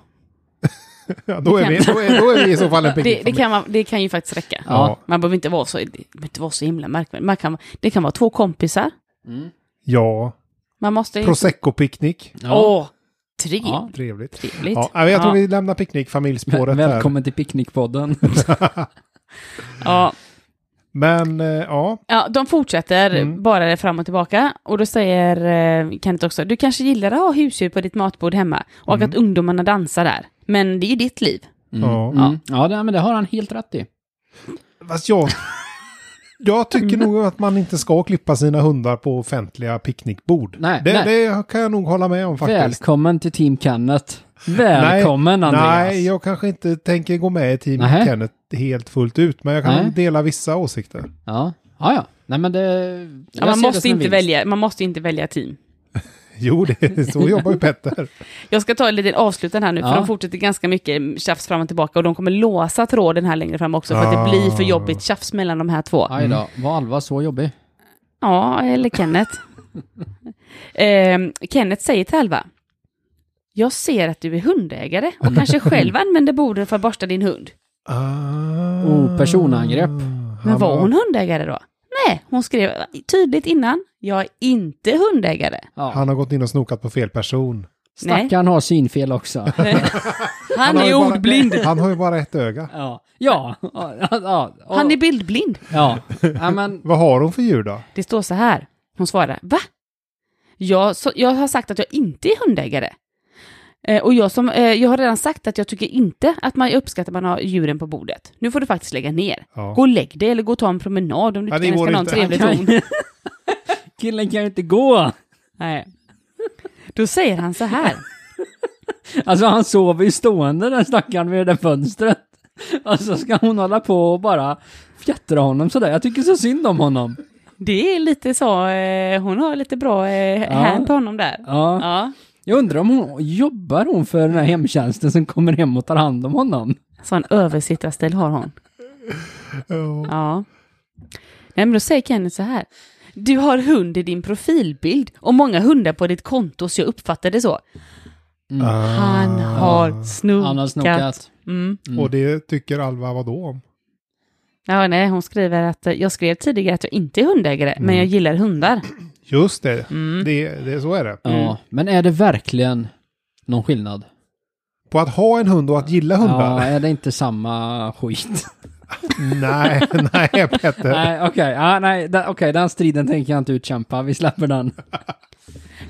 A: Ja, då, är vi, då, är, då är vi i så fall en
C: (laughs) det, det,
A: picknickfamilj.
C: kan man, det kan ju faktiskt räcka.
A: Ja.
C: Man behöver inte vara så, det behöver inte vara så himla märkvärdigt. Man kan, det kan vara två kompisar.
B: Mm.
A: ja.
C: Man måste...
A: Prosecco-picknick.
B: Ja.
C: Åh, trevligt.
B: Ja.
A: Trevligt.
C: Trevligt.
A: Ja, jag tror
C: ja.
A: vi lämnar picknickfamiljspåret här. Mm.
B: Välkommen till
A: (laughs)
B: Picknickpodden.
C: Ja.
A: Men eh, ja,
C: Ja, de fortsätter
A: Mm.
C: bara det fram och tillbaka. Och då säger eh, Kenneth också, du kanske gillar att ha husdjur på ditt matbord hemma och att ungdomarna dansar där. Men det är ju ditt liv.
B: Mm.
A: Ja.
B: Mm. ja det, men det har han helt rätt i.
A: fast jag... Jag tycker nog att man inte ska klippa sina hundar på offentliga picknickbord.
B: Nej,
A: det,
B: nej.
A: det kan jag nog hålla med om faktiskt.
B: Välkommen till Team Kenneth. Välkommen, Andreas.
A: Nej, jag kanske inte tänker gå med i Team
B: Nähä.
A: Kenneth helt fullt ut, men jag kan
B: Nej.
A: dela vissa åsikter.
B: Ja. ja, ja. Nej, men det...
C: Ja,
B: jag
C: man,
B: ser det
C: måste
B: som en
C: inte
B: vinst.
C: välja, man måste inte välja team.
A: Jo, det, så jobbar ju Petter.
C: Jag ska ta en liten avslutare här nu, för
B: Ja.
C: de fortsätter ganska mycket tjafs fram och tillbaka och de kommer låsa tråden här längre fram också för att det blir för
A: Ah.
C: jobbigt tjafs mellan de här två.
B: Aj då,
A: Mm.
B: var Alva så jobbig?
C: Ja, eller Kenneth. Ehm, Kenneth säger till Alva. Jag ser att du är hundägare och kanske själv använder bordet för att borsta din hund.
A: Ah.
B: Oh, personangrepp.
C: Men
A: Han
C: var hon hundägare då? Nej, hon skrev tydligt innan. Jag är inte hundägare.
B: Ja.
A: Han har gått in och snokat på fel person.
C: Nej.
B: Stackaren har synfel
C: (laughs)
B: också.
C: Han,
A: har
C: är
A: ju bara- (laughs)
C: ordblind.
A: Han har ju bara ett öga.
B: Ja, ja, ja, ja,
C: Han är bildblind.
B: ja. ja men,
A: Vad har hon för djur då?
C: Det står så här. Hon svarar, va? Jag, så, jag har sagt att jag inte är hundägare. Eh, och jag, som, eh, jag har redan sagt att jag tycker inte att man uppskattar att man har djuren på bordet. Nu får du faktiskt lägga ner.
A: Ja.
C: Gå och lägg dig eller gå och ta en promenad om du
A: Ja,
C: tycker
A: det
C: den ska
A: går
C: ha en
A: inte.
C: trevlig
B: Han kan
A: (laughs)
C: ton.
B: killen kan ju inte gå.
C: Nej. Då säger han så här.
B: Alltså han sover ju stående den stackaren vid det där fönstret. Alltså ska hon hålla på och bara fjättra honom sådär? Jag tycker så synd om honom.
C: Det är lite så, eh, hon har lite bra eh, hand på honom där.
B: Ja.
C: Ja.
B: Jag undrar om hon, jobbar hon för den här hemtjänsten som kommer hem och tar hand om honom?
C: Sån översittarstil har hon.
A: Ja.
C: Ja. Nej, men då säger Kenneth så här. Du har hund i din profilbild och många hundar på ditt konto så jag uppfattar det så. Han har snokat.
B: Mm. Ah. Han har snokat.
C: Mm.
A: Och det tycker Alva vad då om?
C: Ja, nej, hon skriver att eh, jag skrev tidigare att jag inte är hundägare,
B: Mm.
C: men jag gillar hundar.
A: Just det. Det, det, så är det.
B: Ja, men är det verkligen någon skillnad?
A: På att ha en hund och att gilla
B: Ja,
A: hundar?
B: är det inte samma skit?
A: (laughs) nej, (laughs) nej Petter.
B: nej, okej, ja, nej, den, okej, den striden tänker jag inte utkämpa, vi släpper den.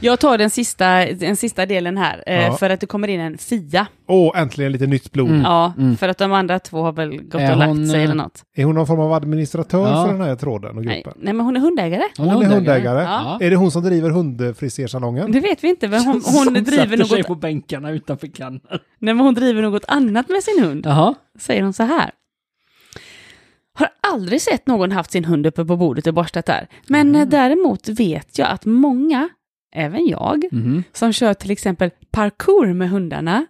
C: Jag tar den sista, den sista delen här, eh,
A: Ja.
C: för att det kommer in en Fia.
B: Mm.
A: Åh, äntligen lite nytt blod.
C: Ja, för att de andra två har väl gått
B: Är
C: och
B: hon,
C: lagt sig
B: eh,
C: eller något.
A: Är hon någon form av administratör
B: Ja.
A: för den här tråden och
C: Nej,
A: gruppen?
C: nej, men hon är hundägare.
A: Hon är hundägare.
B: Ja.
A: Är det hon som driver hundfrisersalongen?
C: Det vet vi inte, men hon,
B: Som
C: hon, driver,
B: sätter sig
C: något,
B: på bänkarna utanför kannen.
C: nej, men hon driver något annat med sin hund.
B: Jaha.
C: säger hon så här. Har aldrig sett någon haft sin hund uppe på bordet och borstat där. Men
A: Mm.
C: eh, däremot vet jag att många, även jag,
A: Mm.
B: Mhm.
C: som kör till exempel parkour med hundarna,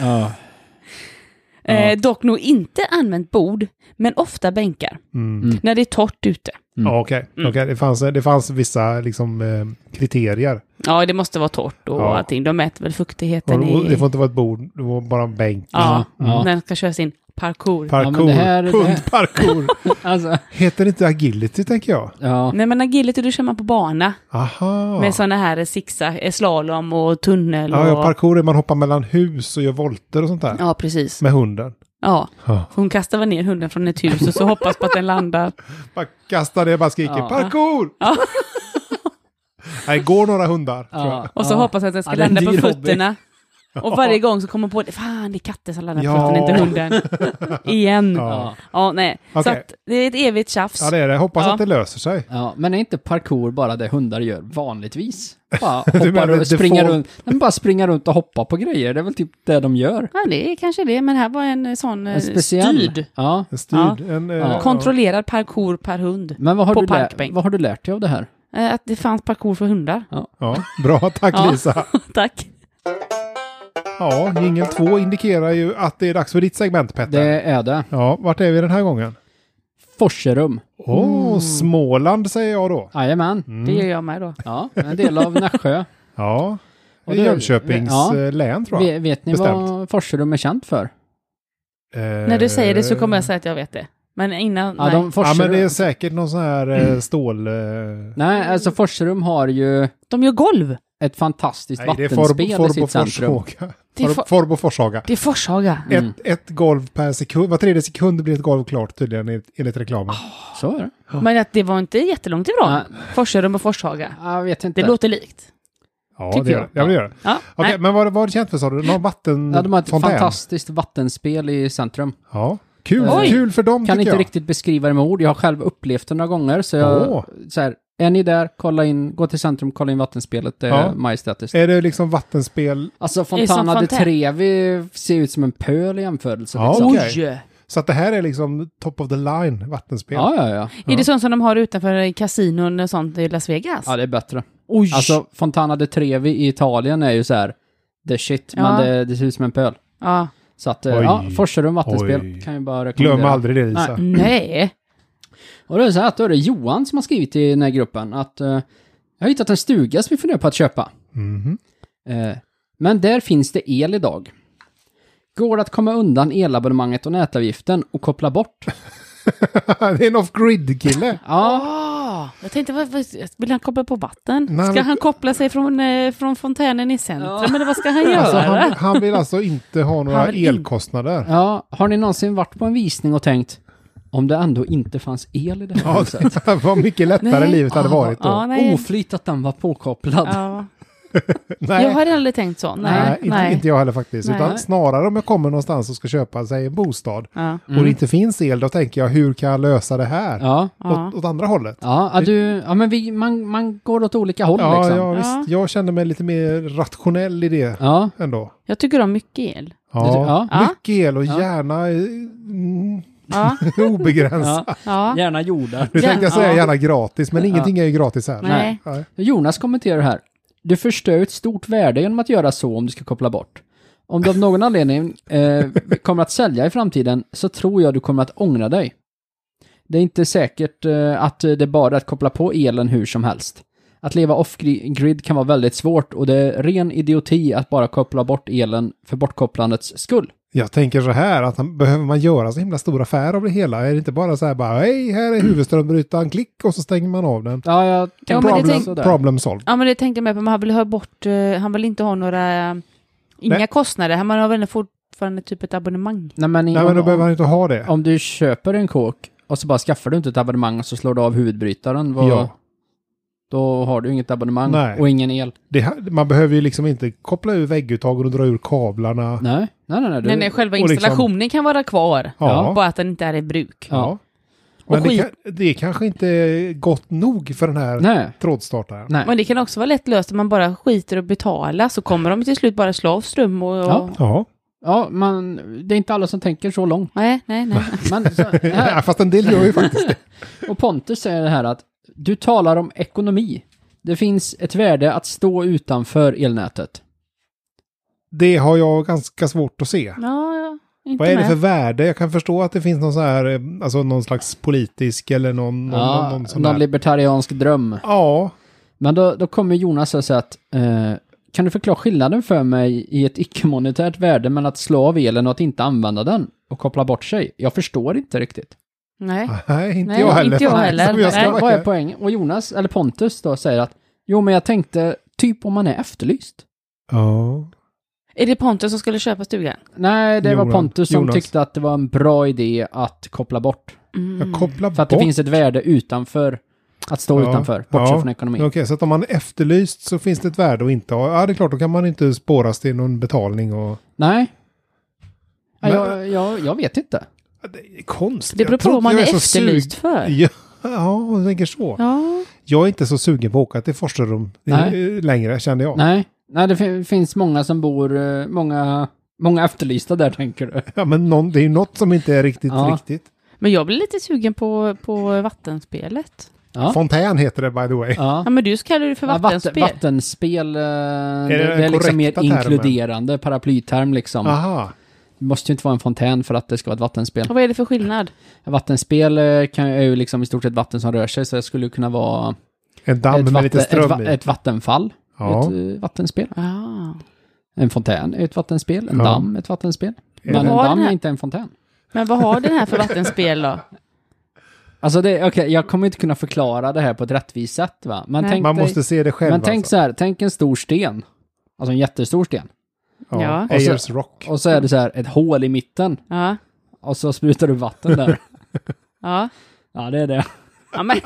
B: Ja.
C: eh, dock nog inte använt bord, men ofta bänkar,
A: Mm.
C: när det är torrt ute.
A: Ja, okej. Okej, Det, fanns, det fanns vissa liksom, eh, kriterier.
C: Ja, det måste vara torrt och
A: Ja.
C: allting. De mäter väl
A: Och,
C: fuktigheten
A: och,
C: i...
A: det får inte vara ett bord, det var bara en bänk.
C: Ja,
B: Ja.
C: när de ska köra sin parkour.
B: Ja, men
A: Parkour.
B: det här- det här-
A: Hundparkour.
B: Alltså,
A: Heter det inte agility, tänker jag?
B: ja.
C: Nej, men agility, då kör man på bana
A: Aha.
C: med sådana här eh, zigzag, eh, slalom och tunnel
A: Ja, ja,
C: och...
A: parkour är man hoppar mellan hus och gör volter och sånt där.
C: Ja, precis.
A: Med hunden.
C: Ja.
A: Ja.
C: För hon kastar väl ner hunden från ett hus och så hoppas på att den landar.
A: Bara kastar det, bara skriker
B: Ja.
A: parkour! (laughs) Nej, går några hundar, tror jag.
B: ja.
C: Och så hoppas att den ska
B: Ja, det är en
C: landa på
B: dyr hobby.
C: fötterna. Och varje gång så kommer hon på det, fan det är katter som landar på
A: Ja.
C: fötterna, inte hunden.
B: (laughs)
C: Igen. Ja,
B: Ja.
C: nej. Så
A: Okej.
C: att det är ett evigt tjafs.
A: Ja, det är det. Hoppas
C: Ja.
A: att det löser sig.
B: Ja, men är inte parkour bara det hundar gör vanligtvis?
A: (laughs)
B: Bara
A: menar
B: hoppar och
A: det
B: springer
A: får-
B: runt. De bara springer runt och hoppar på grejer. Det är väl typ det de gör.
C: Ja, det är kanske det, men här var en eh, sån eh,
B: En speciell.
C: styrd,
B: Ja.
A: En styrd, en... eh, ja.
C: kontrollerad parkour per hund.
B: Men vad har,
C: På
B: du lä-
C: parkbänk.
B: vad har du lärt dig av det här?
C: Eh, Att det fanns parkour
B: (laughs)
C: för hundar.
A: Ja, bra. Tack
C: Ja.
A: Lisa.
C: Tack.
A: Ja, jingel 2 indikerar ju att det är dags för ditt segment Petter.
B: Det är det.
A: Ja, vart är vi den här gången?
B: Forserum.
A: Åh,
B: Mm.
A: Småland säger jag då. Mm,
B: Jajamän.
C: Det gör jag med då.
B: Ja, en del av Nässjö.
A: Ja, det
B: Och
A: är
B: det-
A: Jönköpings
B: ja.
A: eh, län (laughs) tror jag.
B: Ve- vet ni vad
A: Bestämt.
B: Forserum är känt för?
C: När du säger det så kommer jag säga att jag vet det. Men innan,
B: Eh. Ja,
C: nej.
B: de
A: Eh, Ja,
B: Forserum...
A: men det är säkert någon sån här
B: Mm.
A: eh, stål... eh,
B: Nej, alltså Forserum har ju
C: De gör golv.
B: ett fantastiskt
A: Nej, det är
B: vattenspel
A: Forbo-
B: i
A: Forbo
B: sitt centrum.
A: Forshaga.
C: Det är
A: Forbo-
C: for-
A: Forbo Forshaga.
C: Det är Forshaga.
B: Mm.
A: Ett, ett golv per sekund. Var tredje sekund blir ett golv klart tydligen enligt- enligt reklamen.
B: Så är det.
C: Men att det var inte jättelångt ifrån.
B: Nej.
C: Forserum och Forshaga.
B: Jag vet inte.
C: Det låter likt.
A: ja,
B: tycker
A: det gör
B: jag.
A: det. Ja, det gör det.
C: Ja,
A: Okej,
C: nej.
A: men vad var det känt för sa du? Någon
B: Ja, de har ett
A: vattenfontän?
B: fantastiskt vattenspel i centrum.
A: Ja. Kul,
C: Oj.
A: kul för dem
B: Kan
A: tycker
B: inte
A: jag.
B: riktigt beskriva det med ord. Jag har själv upplevt det några gånger. Så jag,
A: Åh.
B: så här, är ni där, kolla in, gå till centrum, kolla in vattenspelet. Det är
A: Ja.
B: majestätiskt.
A: Är det liksom vattenspel
B: Alltså
C: det som
B: Fontana de
C: fontän?
B: Trevi ser ut som en pöl i jämförelse.
A: Ja,
B: liksom.
A: okej.
C: Oj!
A: Så att det här är liksom top of the line vattenspel.
B: ja, ja, ja.
C: Är det sånt som de har utanför kasinon och sånt i Las Vegas?
B: Ja, det är bättre.
C: Oj!
B: Alltså Fontana de Trevi i Italien är ju så här, the shit,
C: Ja.
B: men det, det ser ut som en pöl.
C: ja.
B: Så att, eh,
A: Oj.
B: ja, Forserum vattenspel
A: Oj.
B: kan ju bara rekommendera.
A: Glöm aldrig det Lisa.
B: Nej.
C: Nej.
B: Och då är det så här att då är det Johan som har skrivit i den här gruppen att eh, jag har hittat en stuga som vi funderar på att köpa.
A: Mhm.
B: Eh, men där finns det el idag. Går det att komma undan elabonnemanget och nätavgiften och koppla bort?
A: det är en
C: (laughs)
A: off-grid-kille.
B: Ja,
C: Ah, jag tänkte, vad, vad, vill han koppla på vatten?
A: Nej,
C: ska
A: men-
C: han koppla sig från, eh, från fontänen i centrum? Eller vad ska han göra?
A: Alltså, han, han vill alltså inte ha några
C: Han vill in-
A: elkostnader.
B: ja, har ni någonsin varit på en visning och tänkt om det ändå inte fanns el i det här huset?
A: Vad mycket lättare
C: Nej.
A: livet hade varit då.
C: Ja, nej.
B: Oflyt att den var påkopplad.
C: Ja.
A: Nej,
C: Jag har aldrig tänkt så. Nej.
A: nej, inte,
C: nej.
A: inte jag heller faktiskt.
C: Nej.
A: Utan snarare om jag kommer någonstans och ska köpa sig en bostad
C: Ja.
A: och det inte finns el, då tänker jag hur kan jag lösa det här?
B: Ja,
C: Ja.
A: Åt, åt andra hållet.
B: ja, ja, du, ja men vi, man, man går åt olika håll
A: Ja,
B: liksom.
A: ja,
B: Ja,
A: visst. Jag känner mig lite mer rationell i det
B: ja.
A: ändå.
C: Jag tycker om mycket el.
A: Ja.
B: Ja.
A: Mycket el och
B: Ja.
A: gärna eh, mm, (laughs)
C: Ja,
A: obegränsat.
C: ja.
B: Gärna jordar.
A: Nu tänkte jag säga
C: Ja.
A: gärna gratis, men ingenting är ju gratis här.
C: Nej.
A: Nej.
B: Jonas kommenterar här. Du förstör ett stort värde genom att göra så om du ska koppla bort. Om du av någon anledning eh, kommer att sälja i framtiden så tror jag du kommer att ångra dig. Det är inte säkert eh, att det är bara att koppla på elen hur som helst. Att leva off-grid kan vara väldigt svårt och det är ren idioti att bara koppla bort elen för bortkopplandets skull.
A: Jag tänker så här, att han, behöver man göra så himla stor affär av det hela? Är det inte bara så här bara, hej, här är huvudströmbrytaren, klick och så stänger man av den.
B: Ja, jag
C: Ja, men det
A: problem,
C: tänk-
B: sådär.
A: problem solved.
C: Ja, men det tänkte jag med på, men han vill ha bort, eh, han vill inte ha några, eh, inga
A: Nej.
C: kostnader. Han har väl fortfarande typ ett abonnemang.
B: Nej, men, i-
A: Nej,
B: om,
A: men då behöver han inte ha det.
B: om du köper en kåk och så bara skaffar du inte ett abonnemang och så slår du av huvudbrytaren, vad,
A: Ja.
B: då har du inget abonnemang
A: Nej.
B: och ingen el.
A: det. ha- Man behöver ju liksom inte koppla ur vägguttagen och dra ur kablarna.
B: Nej, nej, nej. nej, du,
C: Men eh, själva
A: och liksom-
C: installationen kan vara kvar,
A: Ja.
C: bara att den inte är i bruk.
B: Ja.
A: Men
C: Och
A: det,
C: skit-
A: kan, det är kanske inte är gott nog för den här
B: nej,
A: trådstartaren.
B: nej.
C: Men det kan också vara lätt löst om man bara skiter och betala så kommer de till slut bara slå av ström och... och...
B: Ja.
A: Ja,
B: Ja, man, det är inte alla som tänker så långt.
C: Nej,
A: (laughs)
C: nej, nej.
B: Men, så, här,
A: ja. fast en del gör
C: (laughs)
A: ju faktiskt det.
B: och Pontus säger det här att du talar om ekonomi. Det finns ett värde att stå utanför elnätet.
A: Det har jag ganska svårt att se.
C: Ja, ja. Inte
A: Vad är det
C: med.
A: för värde? Jag kan förstå att det finns någon så här, eh, alltså någon slags politisk eller någon, någon,
B: ja,
A: någon, någon sån
B: någon
A: här.
B: libertariansk dröm.
A: Ja,
B: Men då, då kommer Jonas och säger att eh, kan du förklara skillnaden för mig i ett icke-monetärt värde mellan att slå av elen och att inte använda den och koppla bort sig? Jag förstår inte riktigt. Eh,
C: Nej.
A: nej, inte
C: Nej,
A: jag heller.
C: inte jag
A: Fan,
C: heller.
A: som Jag ska
C: Nej,
A: vara-
B: Vad är poängen? Och Jonas, eller Pontus då, säger att jo men jag tänkte typ om man är efterlyst.
A: Ja.
C: Är det Pontus som skulle köpa stugan?
B: Nej, det var
A: Jonas.
B: Pontus som
A: Jonas.
B: tyckte att det var en bra idé att koppla bort.
C: Mm.
A: Jag kopplar
B: För att
A: bort.
B: det finns ett värde utanför, att stå
A: Ja,
B: utanför, bortsett
A: ja.
B: från ekonomin.
A: Okej, så att om man är efterlyst så finns det ett värde och inte ha. Ja, det är klart, då kan man inte spåras till någon betalning och...
B: Nej. Nej,
A: Men-
B: jag, jag, jag vet inte.
A: Ja, Det är konstigt.
C: Det beror
A: Jag
C: på
A: tror
C: vad man
A: jag
C: är
A: så
C: efterlyst
A: sug-
C: för.
A: Ja, ja, jag tänker så.
C: Ja.
A: Jag är inte så sugen på att åka till Forserum
B: Nej.
A: eh, längre, kände jag.
B: Nej, Nej det fin- finns många som bor, eh, många, många efterlysta där tänker du.
A: Ja, men någon, det är ju något som inte är riktigt,
B: Ja.
A: riktigt.
C: Men jag blir lite sugen på, på vattenspelet.
B: Ja.
A: Fontän heter det, by the way.
B: Ja.
C: Ja, men du kallar det för
B: Ja,
C: vattenspel.
B: Vatten, vattenspel, eh, det,
A: den
B: det är liksom mer
A: korrekta termen?
B: inkluderande paraplyterm liksom.
A: Aha.
B: Det måste ju inte vara en fontän för att det ska vara ett vattenspel.
C: Och vad är det för skillnad?
B: Vattenspel eh, kan, är ju liksom i stort sett vatten som rör sig, så det skulle ju kunna vara
A: En damm
B: ett,
A: med lite
B: vatten, ett,
A: ström
B: va-
A: i.
B: ett vattenfall,
A: Ja.
B: ett eh, vattenspel.
C: Ah.
B: En fontän är ett vattenspel, en
A: Ja.
B: damm är ett vattenspel.
A: Är
B: Men en
A: det-
C: Har den
B: damm är
C: här-
B: inte en fontän.
C: Men vad har den här för vattenspel då?
B: Alltså det, okej, jag kommer inte kunna förklara det här på ett rättvist sätt va. Men
C: Nej.
B: tänk
A: Man
B: dig,
A: måste se det själv
B: men tänk
A: alltså.
B: så här, tänk en stor sten. Alltså en jättestor sten.
A: Ja.
C: Ja.
A: Ayers Rock.
B: Och så är det så här ett hål i mitten.
C: Ja.
B: Och så sprutar du vatten
A: (laughs)
B: där.
C: Ja.
B: Ja, det är det.
C: ja men,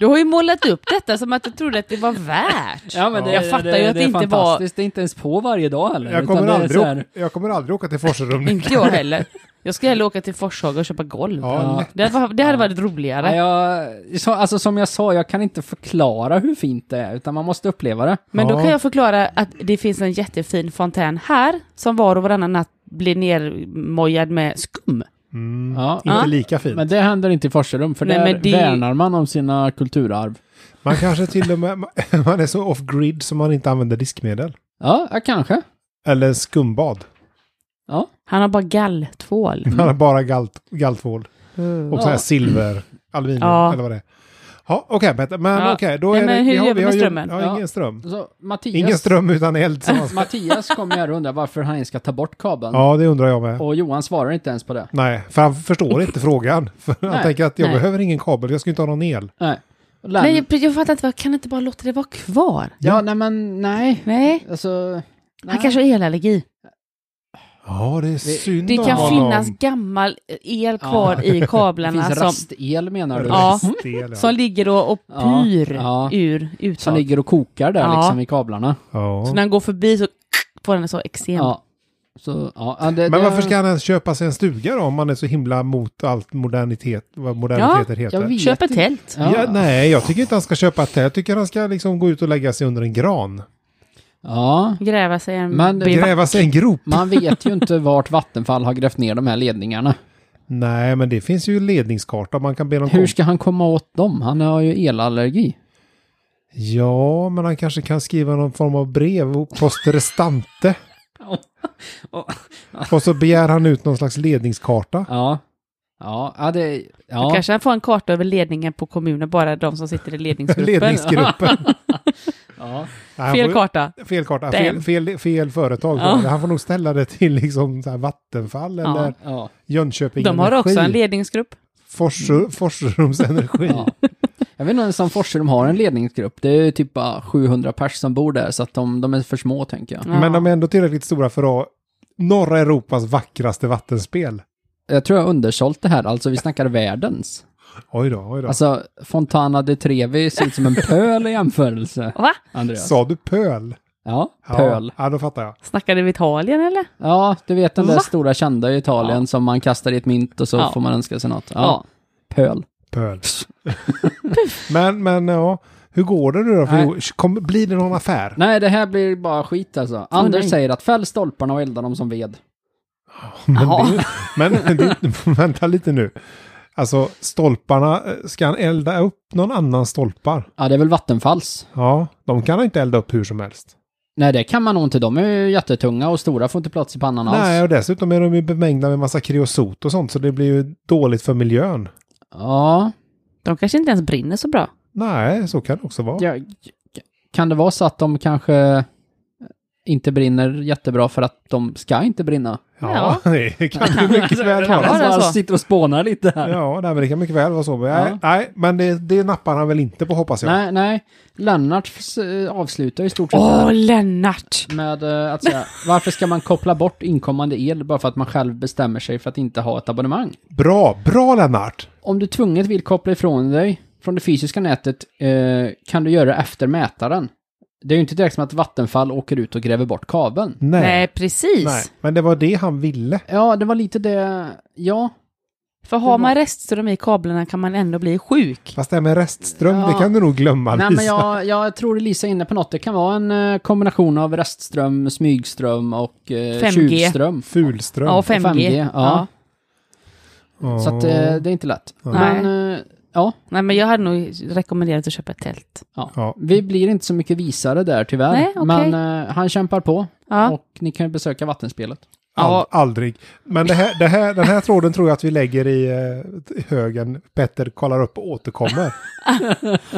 C: du har ju målat upp detta som att du trodde att det var värt.
B: Ja, men det,
C: Jag fattar ju att det
B: är
C: inte var-
B: fantastiskt. Det är inte ens på varje dag heller.
A: Jag
B: utan
A: kommer,
B: det är
A: aldrig,
B: så här- Mm.
A: åka- jag kommer aldrig åka till Forserum.
C: Inte jag heller. Jag ska hellre åka till Forshaga och köpa golv.
A: Ja,
C: Det hade, var- det hade varit roligare.
B: Nej, jag, så, alltså som jag sa, jag kan inte förklara hur fint det är, utan man måste uppleva det.
C: Men då
A: Ja.
C: kan jag förklara att det finns en jättefin fontän här som var och varannan natt blir nermojad med skum.
A: Mm.
B: Ja.
A: Inte
C: Ja.
A: lika fint.
B: Men det händer inte i Forserum, för
C: Nej,
B: där
C: men det-
B: värnar man om sina kulturarv.
A: Man kanske till och med... (laughs) Man är så off-grid så man inte använder diskmedel.
B: Ja, ja, kanske.
A: Eller skumbad.
B: Ja.
C: Han har bara galltvål.
A: Man har bara galt, galtvål. Och så här
B: Mm. Ja.
A: silver, aluminium
C: Ja.
A: eller vad det är. Ja, okej Peter. Men
C: Ja.
A: okej, då
C: Nej,
A: är det...
B: eh,
C: men hur
A: vi har-
C: gör vi
A: vi
C: med
A: har ju-
C: strömmen?
A: Ja,
B: Ja.
A: ingen ström.
B: Så Mattias,
A: Ingen ström utan eld. Som
B: (laughs)
A: man ska...
B: Mattias kommer jag att undra varför han ens ska ta bort kabeln.
A: Ja, det undrar jag med.
B: Och Johan svarar inte ens på det.
A: Nej, för han
C: (laughs)
A: förstår inte frågan. För han
B: Nej,
A: tänker att jag
C: nej.
A: behöver ingen kabel, jag ska inte ha någon el.
B: Nej. Lär...
C: Nej, jag, jag fattar inte, jag kan inte bara låta det vara kvar?
B: Ja, nej men nej.
C: Nej,
B: Alltså... Nej.
C: han kanske har elallergi.
A: Ja, det är synd
C: Det
A: om
C: kan
A: honom.
C: finnas gammal el kvar
B: (laughs)
C: i
B: Det
C: kablarna
B: finns
C: som,
B: rastel menar du?
C: Ja.
A: Restel,
C: som ligger och, och
B: Ja,
C: pyr
B: ja.
C: ur
B: Som
C: utåt.
B: ligger och kokar där
C: Ja.
B: liksom i kablarna.
C: Så
A: Ja.
C: när han går förbi så får han så eksem.
B: Ja. Så, ja. ja, Det,
A: Men
B: det-
A: varför ska han ens köpa sig en stuga då? Om man är så himla mot allt modernitet, vad moderniteter heter.
B: jag vet
C: Köp ett
B: inte.
C: tält.
B: Ja.
A: Ja, nej, jag tycker inte han ska köpa ett tält. Jag tycker han ska liksom gå ut och lägga sig under en gran.
B: Ja,
C: Gräva sig en
B: Men-
C: bivack.
A: Gräva sig en grop.
B: man vet ju inte vart Vattenfall har grävt ner de här ledningarna.
A: Nej, men det finns ju ledningskarta man kan be dem
B: Hur
A: kom.
B: ska han komma åt dem? Han har ju elallergi.
A: Ja, men han kanske kan skriva någon form av brev och post
C: (laughs)
A: restante. och så begär han ut någon slags ledningskarta.
B: Ja. Ja, ja det...
C: Då
B: Ja.
C: kanske han får en karta över ledningen på kommunen, bara de som sitter
B: (laughs)
C: i ledningsgruppen. (laughs)
A: Ledningsgruppen.
B: ja.
A: Nej, han
C: Fel
A: får-
C: karta.
A: Fel karta. Fel,
C: Damn.
A: fel, fel företag. då.
C: Ja.
A: Han får nog ställa det till liksom så här Vattenfall
C: Ja.
A: eller
B: ja.
A: Jönköping
C: De har också en Mm. ledningsgrupp.
A: Forsru- Forsrums energi.
B: Ja. Jag vet inte ens om Forserum har en ledningsgrupp. Det är ju typ bara 700 pers som bor där, så att de, de är för små tänker jag.
C: Ja.
A: Men de är ändå tillräckligt stora för att ha norra Europas vackraste vattenspel.
B: Jag tror jag har undersålt det här, alltså vi snackar världens.
A: Oj då, oj då.
B: Alltså, Fontana de Trevi ser ut
C: (laughs)
B: som en pöl i jämförelse,
C: Va?
B: Andreas.
A: Sa du pöl?
B: Ja,
A: Ja,
B: pöl.
A: Ja, då fattar jag.
C: Snackade vi Italien eller?
B: Ja, du vet den där
C: Va?
B: stora kända i Italien som man kastar i ett mynt och så
C: Ja.
B: får man önska sig något. Ja.
C: Ja.
B: Pöl.
A: Pöl. (laughs) men, men ja. Hur går det nu då? För
B: Nej.
A: jo- kom, blir det någon affär?
B: Nej, det här blir bara skit alltså. Anders
C: nej.
B: säger att fäll stolparna och elda dem som ved.
A: Men,
C: Ja.
A: det, men (laughs) det, vänta lite nu. Alltså stolparna, eh, ska han elda upp någon annan stolpar?
B: Ja, det är väl Vattenfalls.
A: Ja, de kan han inte elda upp hur som helst.
B: Nej, det kan man nog inte. De är ju jättetunga och stora, får inte plats i pannan
A: Nej,
B: alls.
A: och dessutom är de ju bemängda med massa kreosot och sånt, så det blir ju dåligt för miljön.
B: Ja,
C: De kanske inte ens brinner så bra.
A: Nej, så kan det också vara.
B: ja. Kan det vara så att de kanske inte brinner jättebra för att de ska inte brinna?
A: Ja, (laughs) det kan det mycket väl
C: Kan
A: vara.
C: vara. det
B: Jag
C: så?
B: sitter och spånar lite här.
A: Ja, nej, men det kan mycket väl vara så. Men, nej,
B: Ja.
A: nej, men det, det nappar han väl inte på hoppas jag.
B: Nej, nej. Lennart eh, avslutar i stort sett
C: Åh,
B: här.
C: Lennart!
B: Med eh, att säga, varför ska man koppla bort inkommande el bara för att man själv bestämmer sig för att inte ha ett abonnemang?
A: Bra, bra Lennart!
B: Om du tvunget vill koppla ifrån dig från det fysiska nätet eh, kan du göra det efter mätaren. Det är ju inte direkt som att Vattenfall åker ut och gräver bort kabeln.
A: Nej.
C: Nej,
A: nej.
C: precis.
A: Men det var det han ville.
B: Ja, det var lite det, ja.
C: För
B: Det
C: har
B: var-
C: man restström i kablarna kan man ändå bli sjuk.
A: Fast det här med restström,
B: Ja.
A: det kan du nog glömma
B: Nej,
A: Lisa.
B: men jag, jag tror Lisa är inne på något. Det kan vara en eh, kombination av restström, smygström och eh,
C: 5G.
B: tjuvström.
A: Fulström.
C: Ja, och 5G.
B: 5G, ja.
A: Ja.
B: Så att, eh, det är inte lätt.
C: Nej.
B: Men, eh, ja.
C: Nej, men jag hade nog rekommenderat att köpa ett tält.
B: Ja.
A: Ja.
B: Vi blir inte så mycket visare där tyvärr.
C: Nej, okej.
B: Men eh, han kämpar på.
C: Ja.
B: Och ni kan ju besöka vattenspelet.
A: Ald-
C: Ja.
A: Aldrig. Men det här, det här, den här tråden tror jag att vi lägger i eh, högen Petter kollar upp och
B: (laughs)
A: återkommer.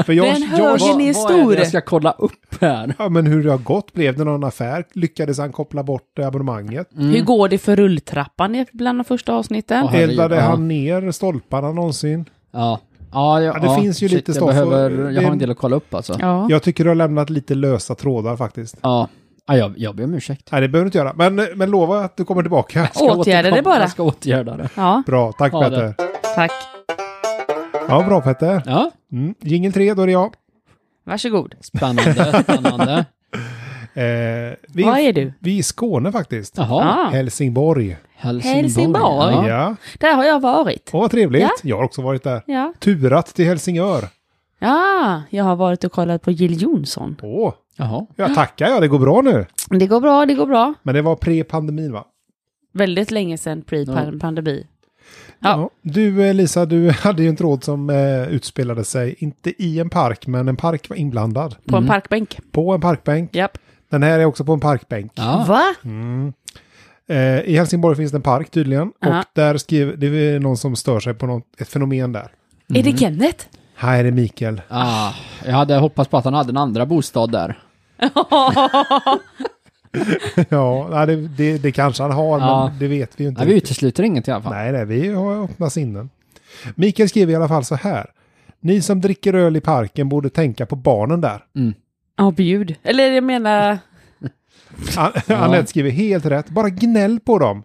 A: För jag,
C: Den
A: jag,
C: högen är
B: Vad är
C: stor.
B: det jag ska kolla upp här?
A: ja, men hur det har gått, blev det någon affär? Lyckades han koppla bort eh, abonnemanget?
B: Mm.
C: Hur går det för rulltrappan i bland de första avsnitten?
B: Ja, herregud,
A: Eldade
B: ja.
A: han ner stolparna någonsin?
B: Ja. Ja, ja,
A: Ja, det finns ju
B: shit,
A: lite
B: jag
A: stoff och-
B: behöver,
A: det
B: Jag
A: är-
B: har en del att kolla upp alltså. Ja.
C: Ja.
A: Jag tycker du har lämnat lite lösa trådar faktiskt.
B: ja. jag, jag ber om ursäkt.
A: Nej, det behöver du inte göra. Men, men lova att du kommer tillbaka.
B: Jag ska
C: Åtgärda det
B: återkomma,
C: bara.
B: Jag ska åtgärda det.
C: ja,
A: Bra, tack
B: Ha
A: Petter.
C: tack.
A: Ja, bra Petter.
B: Ja,
A: Mm. Jingel 3, då är det jag.
C: Varsågod. (laughs)
B: spännande, spännande.
A: Eh, vi,
C: Vad är du?
A: vi är i Skåne faktiskt.
B: Jaha,
C: Ah,
A: Helsingborg.
B: Helsingborg.
C: Helsingborg.
B: Ja.
A: Ja,
C: där har jag varit.
A: och vad trevligt.
C: Ja.
A: Jag har också varit där.
C: Ja.
A: Turat till Helsingör.
C: ja, jag har varit och kollat på Jill Johnson.
A: Åh,
B: Jaha.
A: jag tackar ja, det går bra nu.
C: Det går bra, det går bra.
A: Men det var pre-pandemin va?
C: Väldigt länge sedan pre-pandemi. Ja.
A: Du eh, Lisa, du (laughs) hade ju en tråd som eh, utspelade sig, inte i en park, men en park var inblandad.
C: På
B: Mm.
C: en parkbänk.
A: På en parkbänk.
C: Japp.
A: Den här är också på en parkbänk.
B: Ja.
C: Va?
A: Eh, I Helsingborg finns det en park tydligen.
C: Ja.
A: Och där skriver, det är någon som stör sig på något, ett fenomen där.
C: Är
B: (laughs)
C: det Kenneth?
A: Här är det Mikael.
B: Ah, jag hade hoppats på att han hade en andra bostad där.
A: ja, nej, det, det, det kanske han har,
B: Ja.
A: men det vet vi ju inte.
B: Nej, vi
A: riktigt.
B: utesluter inget i alla fall.
A: Nej, nej, vi har öppna sinnen. Mikael skriver i alla fall så här. Ni som dricker öl i parken borde tänka på barnen där.
C: Ja, bjud. Eller jag menar...
A: An- Anette skriver helt rätt. Bara gnäll på dem.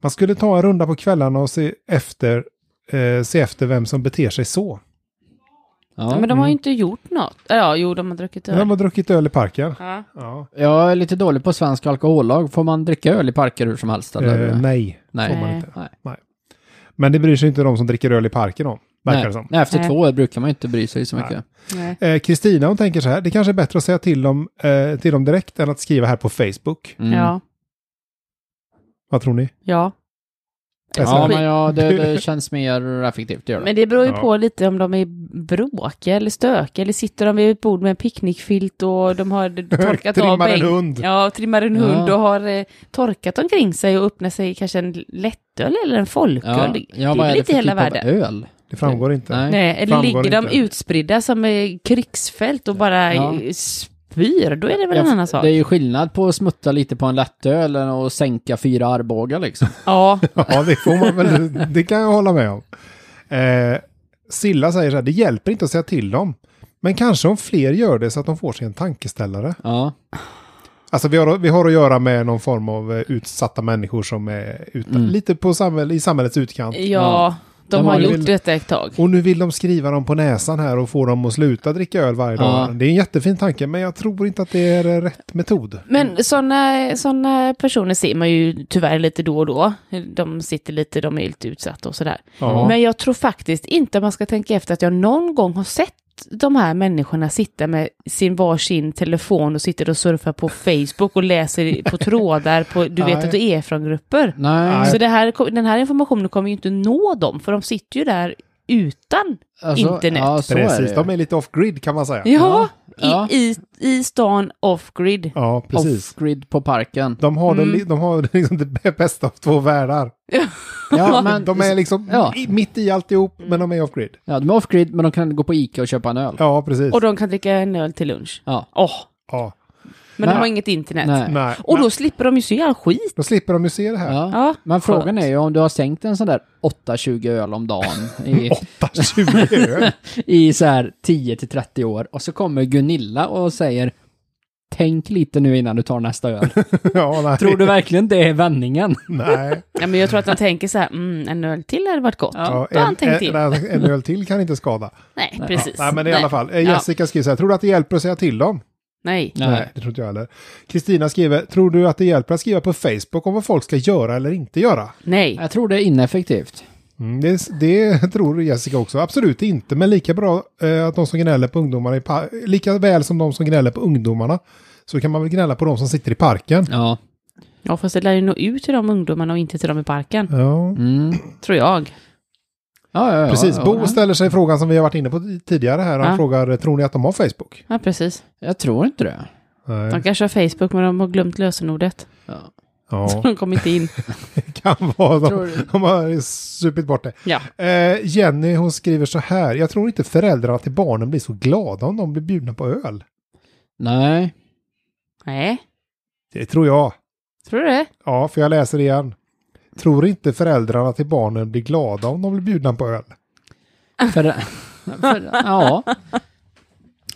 A: Man skulle ta en runda på kvällarna och se efter, eh, se efter vem som beter sig så.
B: Ja. Mm.
C: men de har ju inte gjort något. Ja, jo, de har druckit öl.
A: Vem har druckit öl i parken?
C: Ja.
A: Ja.
B: Jag är lite dålig på svensk alkohollag. Får man dricka öl i parker hur som helst? Eller?
A: Eh, nej,
B: Nej.
A: får man
C: Nej.
A: inte.
B: Nej.
A: Men det bryr sig inte de som dricker öl i parken om. Verkar det
B: Nej.
A: som.
B: Nej, efter
C: Nej.
B: två år brukar man inte bry sig så mycket.
C: Nej.
A: Eh, Kristina hon tänker så här. Det kanske är bättre att säga till dem, eh, till dem direkt än att skriva här på Facebook.
B: Mm.
C: Ja,
A: Vad tror ni?
C: ja.
B: Ja,
A: Alltså-
B: men ja, det, det känns mer effektivt. Det gör det.
C: Men det beror ju
A: Ja.
C: på lite om de är bråkiga eller stökiga eller sitter de vid ett bord med en picknickfilt och
B: (laughs)
C: de har torkat
A: (laughs)
C: av
A: Trimmar en
C: bänk.
A: hund.
C: Ja, och trimmar en
B: Ja.
C: hund och har eh, torkat omkring sig och öppnar sig kanske en lättöl eller en
B: Ja,
C: folköl.
B: ja,
C: det är
B: vad
C: väl
B: det
C: inte
B: för
C: hela
B: typ av
C: världen.
B: öl?
A: Det framgår inte.
B: Nej.
C: Nej, eller
A: Framgår
C: ligger de
A: inte.
C: utspridda som eh, krigsfält och bara
B: Ja.
C: eh, spyr, då är det väl
B: Jag-
C: en annan sak.
B: Det är ju skillnad på att smutta lite på en lättöl än att sänka fyra armbågar
A: (laughs)
B: liksom. (laughs)
C: Ja,
A: (laughs) Ja, det får man väl. Det kan jag hålla med om. Eh, Silla säger så här, det hjälper inte att säga till dem. Men kanske om fler gör det så att de får sig en tankeställare.
B: Ja,
A: Alltså vi har, vi har att göra med någon form av eh, utsatta människor som är
B: Mm.
A: utan, lite på samhäll, i samhällets utkant.
C: ja, de,
B: De
C: har
B: har
C: gjort
A: väl-
C: detta ett tag.
A: Och nu vill de skriva dem på näsan här och få dem att sluta dricka öl varje
B: Ja.
A: dag. Det är en jättefin tanke, men jag tror inte att det är eh, rätt metod.
C: Men sådana såna personer ser man ju tyvärr lite då och då. De sitter lite, de är lite utsatta och sådär.
A: Ja.
C: Men jag tror faktiskt inte man ska tänka efter att jag någon gång har sett de här människorna sitta med sin varsin telefon och sitter och surfar på Facebook och
A: (laughs)
C: läser på trådar på, du vet
A: Nej.
C: att du är från grupper.
B: nej.
C: Så det här, den här informationen kommer ju inte nå dem, för de sitter ju där utan.
B: Alltså,
C: internet.
B: Ja, så är det.
A: Precis,
B: ju.
A: de är lite off-grid kan man säga. Ja,
C: Ja,
B: ja.
C: I, i, i stan off-grid.
A: precis.
B: Off-grid på parken.
A: De har,
C: Mm.
A: det, li- de har (laughs) liksom det bästa av två världar.
C: (laughs)
B: Ja, men,
A: De är liksom
B: Ja.
A: i, mitt i alltihop, men de är off-grid.
B: ja, de är off-grid men de kan gå på Ica och köpa en öl.
A: Ja, precis.
C: Och de kan dricka en öl till lunch.
B: Ja.
C: Åh,
A: ja.
C: men
B: Nej.
C: de har inget internet.
B: Nej.
A: Nej.
C: Och då slipper de ju så jävla skit.
A: Då slipper de ju se det här.
B: Ja.
C: Ja.
B: Men frågan är ju om du har sänkt en sån där 8-20 öl om dagen (laughs) i,
C: (laughs)
A: 8-20 öl.
B: i så här 10-30 år och så kommer Gunilla och säger Tänk lite nu innan du tar nästa öl.
A: ja,
B: (laughs)
A: nej.
B: Tror du verkligen det är vändningen?
A: Nej.
C: Ja, men jag tror att han tänker så här, mm, en öl till hade varit gott.
B: Ja,
C: Då har han
A: en,
C: tänkt
A: en,
C: till.
A: nej, en öl till kan inte skada.
C: Nej, (laughs) precis.
A: Nej, men i alla fall. Eh,
C: Ja.
A: Jessica skriver så här, tror du att det hjälper att säga till dem?
C: Nej.
A: det tror inte jag heller. Kristina skriver, tror du att det hjälper att skriva på Facebook om vad folk ska göra eller inte göra?
C: Nej.
B: Jag tror det är ineffektivt.
A: Mm, det, det (laughs) tror Jessica också. Absolut inte, men lika bra eh, att de som gnäller på ungdomarna, i par- lika väl som de som gnäller på ungdomarna, så kan man väl gnälla på de som sitter i parken.
B: Ja.
C: Ja, fast det lär ju nå ut till de ungdomarna och inte till dem i parken.
A: Ja.
B: Mm.
C: Tror jag.
B: Ja, ja, ja,
A: Precis,
B: ja.
A: Bo ställer sig frågan som vi har varit inne på t- tidigare här. Han
C: Ja.
A: frågar, eh, tror ni att de har Facebook?
C: Ja, precis.
B: Jag tror inte det.
A: Nej.
C: De kanske har Facebook, men de har glömt lösenordet.
B: Ja.
A: Ja,
C: De kom inte in.
A: det kan vara.
C: Tror
A: De,
C: du?
A: de har supit bort det.
C: Ja.
A: Eh, Jenny hon skriver så här. Jag tror inte föräldrarna till barnen blir så glada om de blir bjudna på öl.
B: Nej.
C: Nej,
A: Det tror jag.
C: tror du det?
A: Ja, för jag läser igen. Tror inte föräldrarna till barnen blir glada om de blir bjudna på öl.
B: För, (laughs) för, ja.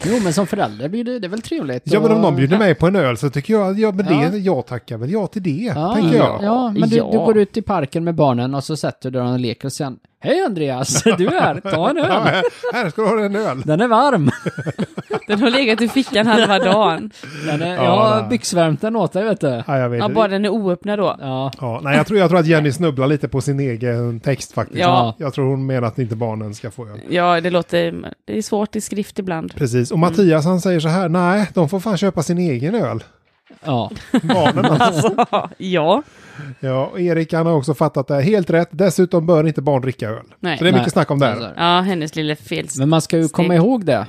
B: Jo, men som förälder blir det, det är väl trevligt.
A: Ja, men om
B: och-
A: någon bjuder mig på en öl så tycker jag, ja men det, ja tackar väl ja till det, tänker jag.
B: Ja, men du,
C: Ja.
B: du går ut i parken med barnen och så sätter du dem och leker och sen Hej Andreas, (laughs) du är här, ta en
A: Ja,
B: öl.
A: här, här ska du ha en öl.
B: Den är varm.
C: Den har legat i
A: (laughs)
C: fickan halva dagen.
B: Den är, jag
A: Ja,
B: har byxvärmt den åt dig vet du.
A: Ja, jag vet.
C: Ja, bara den är oöppnad då.
B: Ja,
A: ja, nej, jag, tror, jag tror att Jenny snubblar lite på sin egen text faktiskt.
C: Ja.
A: Jag tror hon menar att inte barnen ska få öl.
C: Ja, det låter... Det är svårt i
A: (laughs)
C: skrift ibland.
A: Precis, och Mattias han säger så här, nej, de får fan köpa sin egen öl.
B: ja.
A: Barnen
C: (laughs)
A: alltså.
C: Alltså, ja.
A: Ja, och Erik han har också fattat det här helt rätt. Dessutom bör inte barn dricka öl.
C: Nej.
A: Så det är mycket
B: Nej.
A: snack om det här.
B: Alltså,
C: Ja, hennes lilla fel.
B: Men man ska ju komma
C: Steg.
B: ihåg det.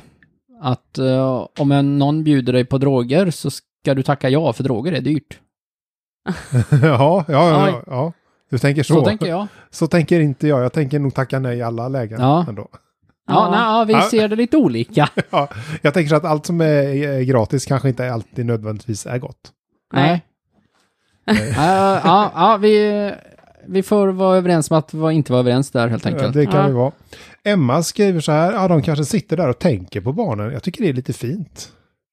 B: Att eh, om en, någon bjuder dig på droger så ska du tacka ja, för droger är dyrt.
A: (laughs) ja, ja, ja, ja,
C: Oj.
A: ja. Du tänker så.
B: Så, tänker jag.
A: Så tänker inte jag. Jag tänker nog tacka nej i alla lägen.
B: Ja.
A: Ändå.
B: Ja,
C: Ja.
B: Nej, ja, vi
A: Ja.
B: ser det lite olika.
A: Ja, jag tänker så att allt som är är gratis kanske inte alltid nödvändigtvis är gott.
B: Nej. Eh, ja, ja, vi, vi får vara överens om att vi inte var överens där helt
A: Ja,
B: enkelt.
A: Det kan
C: Ja.
A: det vara. Emma skriver så här, ja, de kanske sitter där och tänker på barnen. Jag tycker det är lite fint.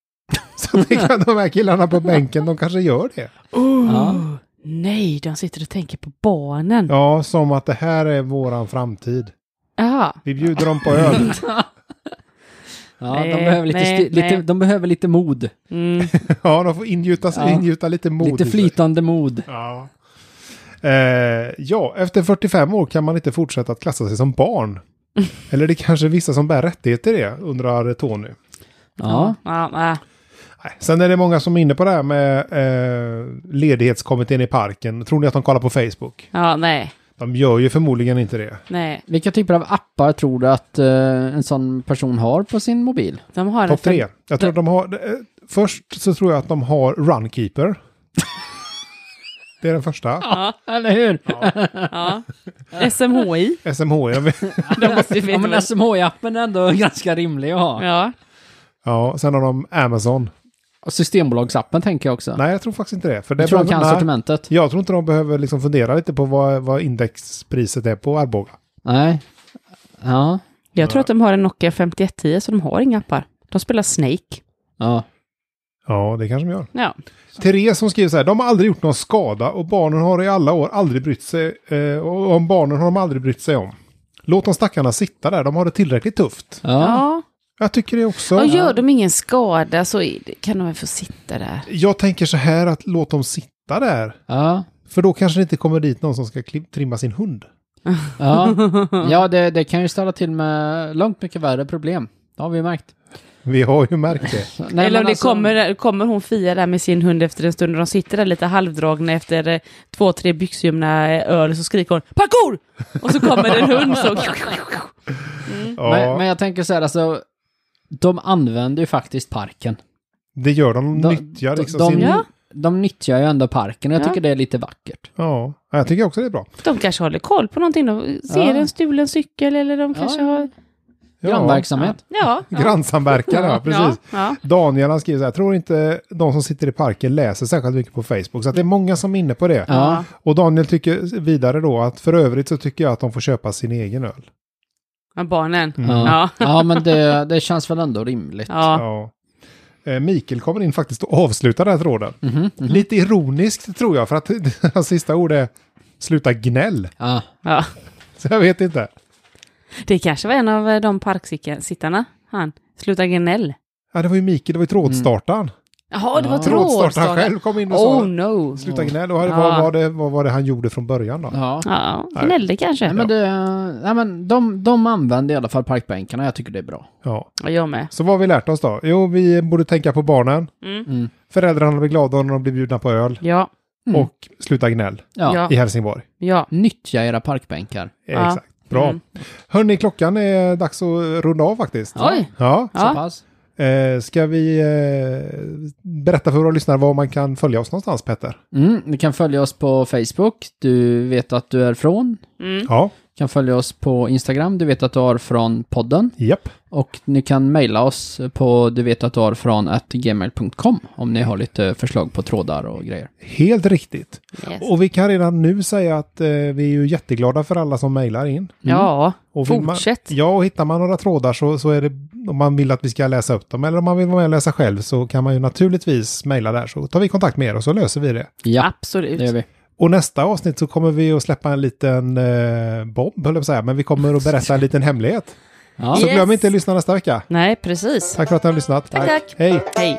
A: (laughs) Så det kan de här killarna på bänken, de kanske gör det.
C: Oh,
B: Ja.
C: Nej, de sitter och tänker på barnen. Ja.
A: Ja, som att det här är våran framtid.
C: Aha.
A: Vi bjuder dem
B: (laughs)
A: på öl.
B: Ja, de,
C: Nej,
B: behöver lite
C: nej,
B: styr, lite,
C: nej.
B: de behöver lite mod.
C: (laughs) Mm.
A: Ja, de får ingjuta,
B: Ja.
A: ingjuta lite mod. i
B: Lite
A: sig.
B: flytande mod.
A: Ja. Eh, ja, efter 45 år kan man inte fortsätta att klassa sig
B: (laughs)
A: som barn. Eller det är kanske är vissa som bär rättigheter i det, undrar Tony.
B: Ja.
C: Ja, ja.
A: Nej. Sen är det många som är inne på det här med eh, ledighetskommittén i parken. Tror ni att de kollar på Facebook?
C: ja, nej,
A: De gör ju förmodligen inte det.
C: nej.
B: Vilka typer av appar tror du att eh, en sån person har på sin mobil?
C: De har en
A: Topp
C: fem-
A: tre. Jag tror att de har... Eh, först så tror jag att de
B: (laughs)
A: har Runkeeper. det är den första.
C: Ja,
B: Eller hur?
C: (laughs) ja. SMHI.
A: SMH. jag vet-
C: (laughs) De måste ju
B: Ja,
C: veta
B: men
C: vad-
B: SMHI-appen är ändå (laughs) ganska rimlig att ha.
C: ja.
A: Ja, sen har de Amazon.
B: Och Systembolagsappen tänker jag också.
A: Nej, jag tror faktiskt inte det. För det
B: jag tror de
A: behöver-
B: kan alltså
A: nej.
B: sortimentet.
A: Jag tror inte de behöver liksom fundera lite på vad, vad indexpriset är på Arboga.
B: Nej. Ja.
C: Jag tror att de har en Nokia 5110 så de har inga appar. De spelar Snake.
B: Ja.
A: Ja, det kanske de gör.
C: Ja.
A: Therese som skriver så här, de har aldrig gjort någon skada och barnen har i alla år aldrig brytt sig, eh, och om barnen har de aldrig brytt sig om. Låt de stackarna sitta där, de har det tillräckligt tufft.
B: Ja.
C: Ja.
A: Jag tycker det också.
C: Och gör de ingen skada så är det- kan de väl få sitta där.
A: Jag tänker så här att låt dem sitta där.
B: Ja.
A: För då kanske det inte kommer dit någon som ska klim- trimma sin hund.
B: Ja,
C: (laughs)
B: ja det, det kan ju ställa till med långt mycket värre problem. Det har vi ju märkt.
A: Vi har ju märkt (laughs) det.
B: Så- nej,
C: Eller
B: men
C: om det
B: alltså-
C: kommer, kommer hon Fia där med sin hund efter en stund och de sitter där lite halvdragna efter eh, två, tre byxljumna eh, öl så skriker hon parkour! Och så kommer det en hund så...
A: Ja,
B: Men, men jag tänker så här, alltså. De använder ju faktiskt parken.
A: det gör de, de
B: De-
A: nyttjar liksom
B: de,
A: sin...
C: Ja.
B: de nyttjar ju ändå parken och jag
C: Ja.
B: tycker det är lite vackert.
A: Ja, jag tycker också det är bra.
C: De kanske håller koll på någonting. De ser
B: Ja.
C: en stulen cykel eller de kanske har...
A: Ja.
B: Grannverksamhet.
C: Ja. ja.
A: Grannsamverkan, ja, precis.
C: Ja,
A: Daniel han skriver så här, tror inte de som sitter i parken läser särskilt mycket på Facebook. Så att det är många som är inne på det.
B: Ja.
C: ja.
A: Och Daniel tycker vidare då att för övrigt så tycker jag att de får köpa sin egen öl.
C: ja. Barnen.
A: Mm.
B: Ja.
C: Ja.
B: ja, men det, det känns väl ändå rimligt.
C: Ja.
A: Eh, Mikael kommer in faktiskt och avslutar den här tråden.
B: Mhm, mhm.
A: Lite ironiskt tror jag, för att (laughs) hans sista ord är sluta gnäll.
B: Ja.
C: ja.
A: Så jag vet inte.
C: Det kanske var en av eh, de parksittarna, han. Sluta gnäll.
A: Ja, det var ju Mikael, det var ju
B: Mm.
A: trådstartaren.
C: Jaha, det var
B: Ja.
A: Trådstartaren
C: trådstartare.
A: själv kom in och sa
C: Oh no.
A: sluta gnäll. Och vad
C: Ja.
A: var, det, vad var det han gjorde från början då?
B: ja.
C: Ja, gnällde kanske.
B: Nej, men det, nej, men de, de använder i alla fall parkbänkarna. Jag tycker det är bra.
A: Ja.
C: Ja, jag med.
A: Så vad har vi lärt oss då? Jo, vi borde tänka på barnen.
C: Mm.
B: Mm.
A: Föräldrarna blir glada när de blir bjudna på öl.
C: Ja,
B: Mm.
A: Och sluta gnäll
B: Ja.
C: Ja.
A: i Helsingborg.
C: ja.
B: Nyttja era parkbänkar.
A: Eh,
C: Ja.
A: Exakt. Bra.
C: Mm.
A: Hörni, klockan är dags att runda av faktiskt.
B: Ja.
C: Oj.
A: Ja.
B: Så
C: Ja.
B: pass.
A: Eh, ska vi eh, berätta för våra lyssnare var man kan följa oss någonstans, Petter?
B: Mm, ni kan följa oss på Facebook, du vet att du är från.
C: Mm.
A: Ja,
B: kan följa oss på Instagram, du vet att du har från podden.
A: japp.
B: Och ni kan mejla oss på du vet att du har från at gmail.com om ni har lite förslag på trådar och grejer.
A: Helt riktigt.
C: Yes.
A: Och vi kan redan nu säga att eh, vi är ju jätteglada för alla som mejlar in.
C: Ja,
A: Och vill man,
C: fortsätt.
A: ja, och hittar man några trådar så, så är det om man vill att vi ska läsa upp dem eller om man vill vara med och läsa själv så kan man ju naturligtvis mejla där så tar vi kontakt med er och så löser vi det.
B: Ja,
C: Absolut.
B: det gör vi.
A: Och nästa avsnitt så kommer vi att släppa en liten eh, bomb, höll jag på att säga, men vi kommer att berätta en liten hemlighet.
B: Ja.
A: Så glöm
C: Yes.
A: inte att lyssna nästa vecka.
C: Nej, precis.
A: Tack för att ni har lyssnat.
C: Tack, tack.
A: Hej.
C: Hej.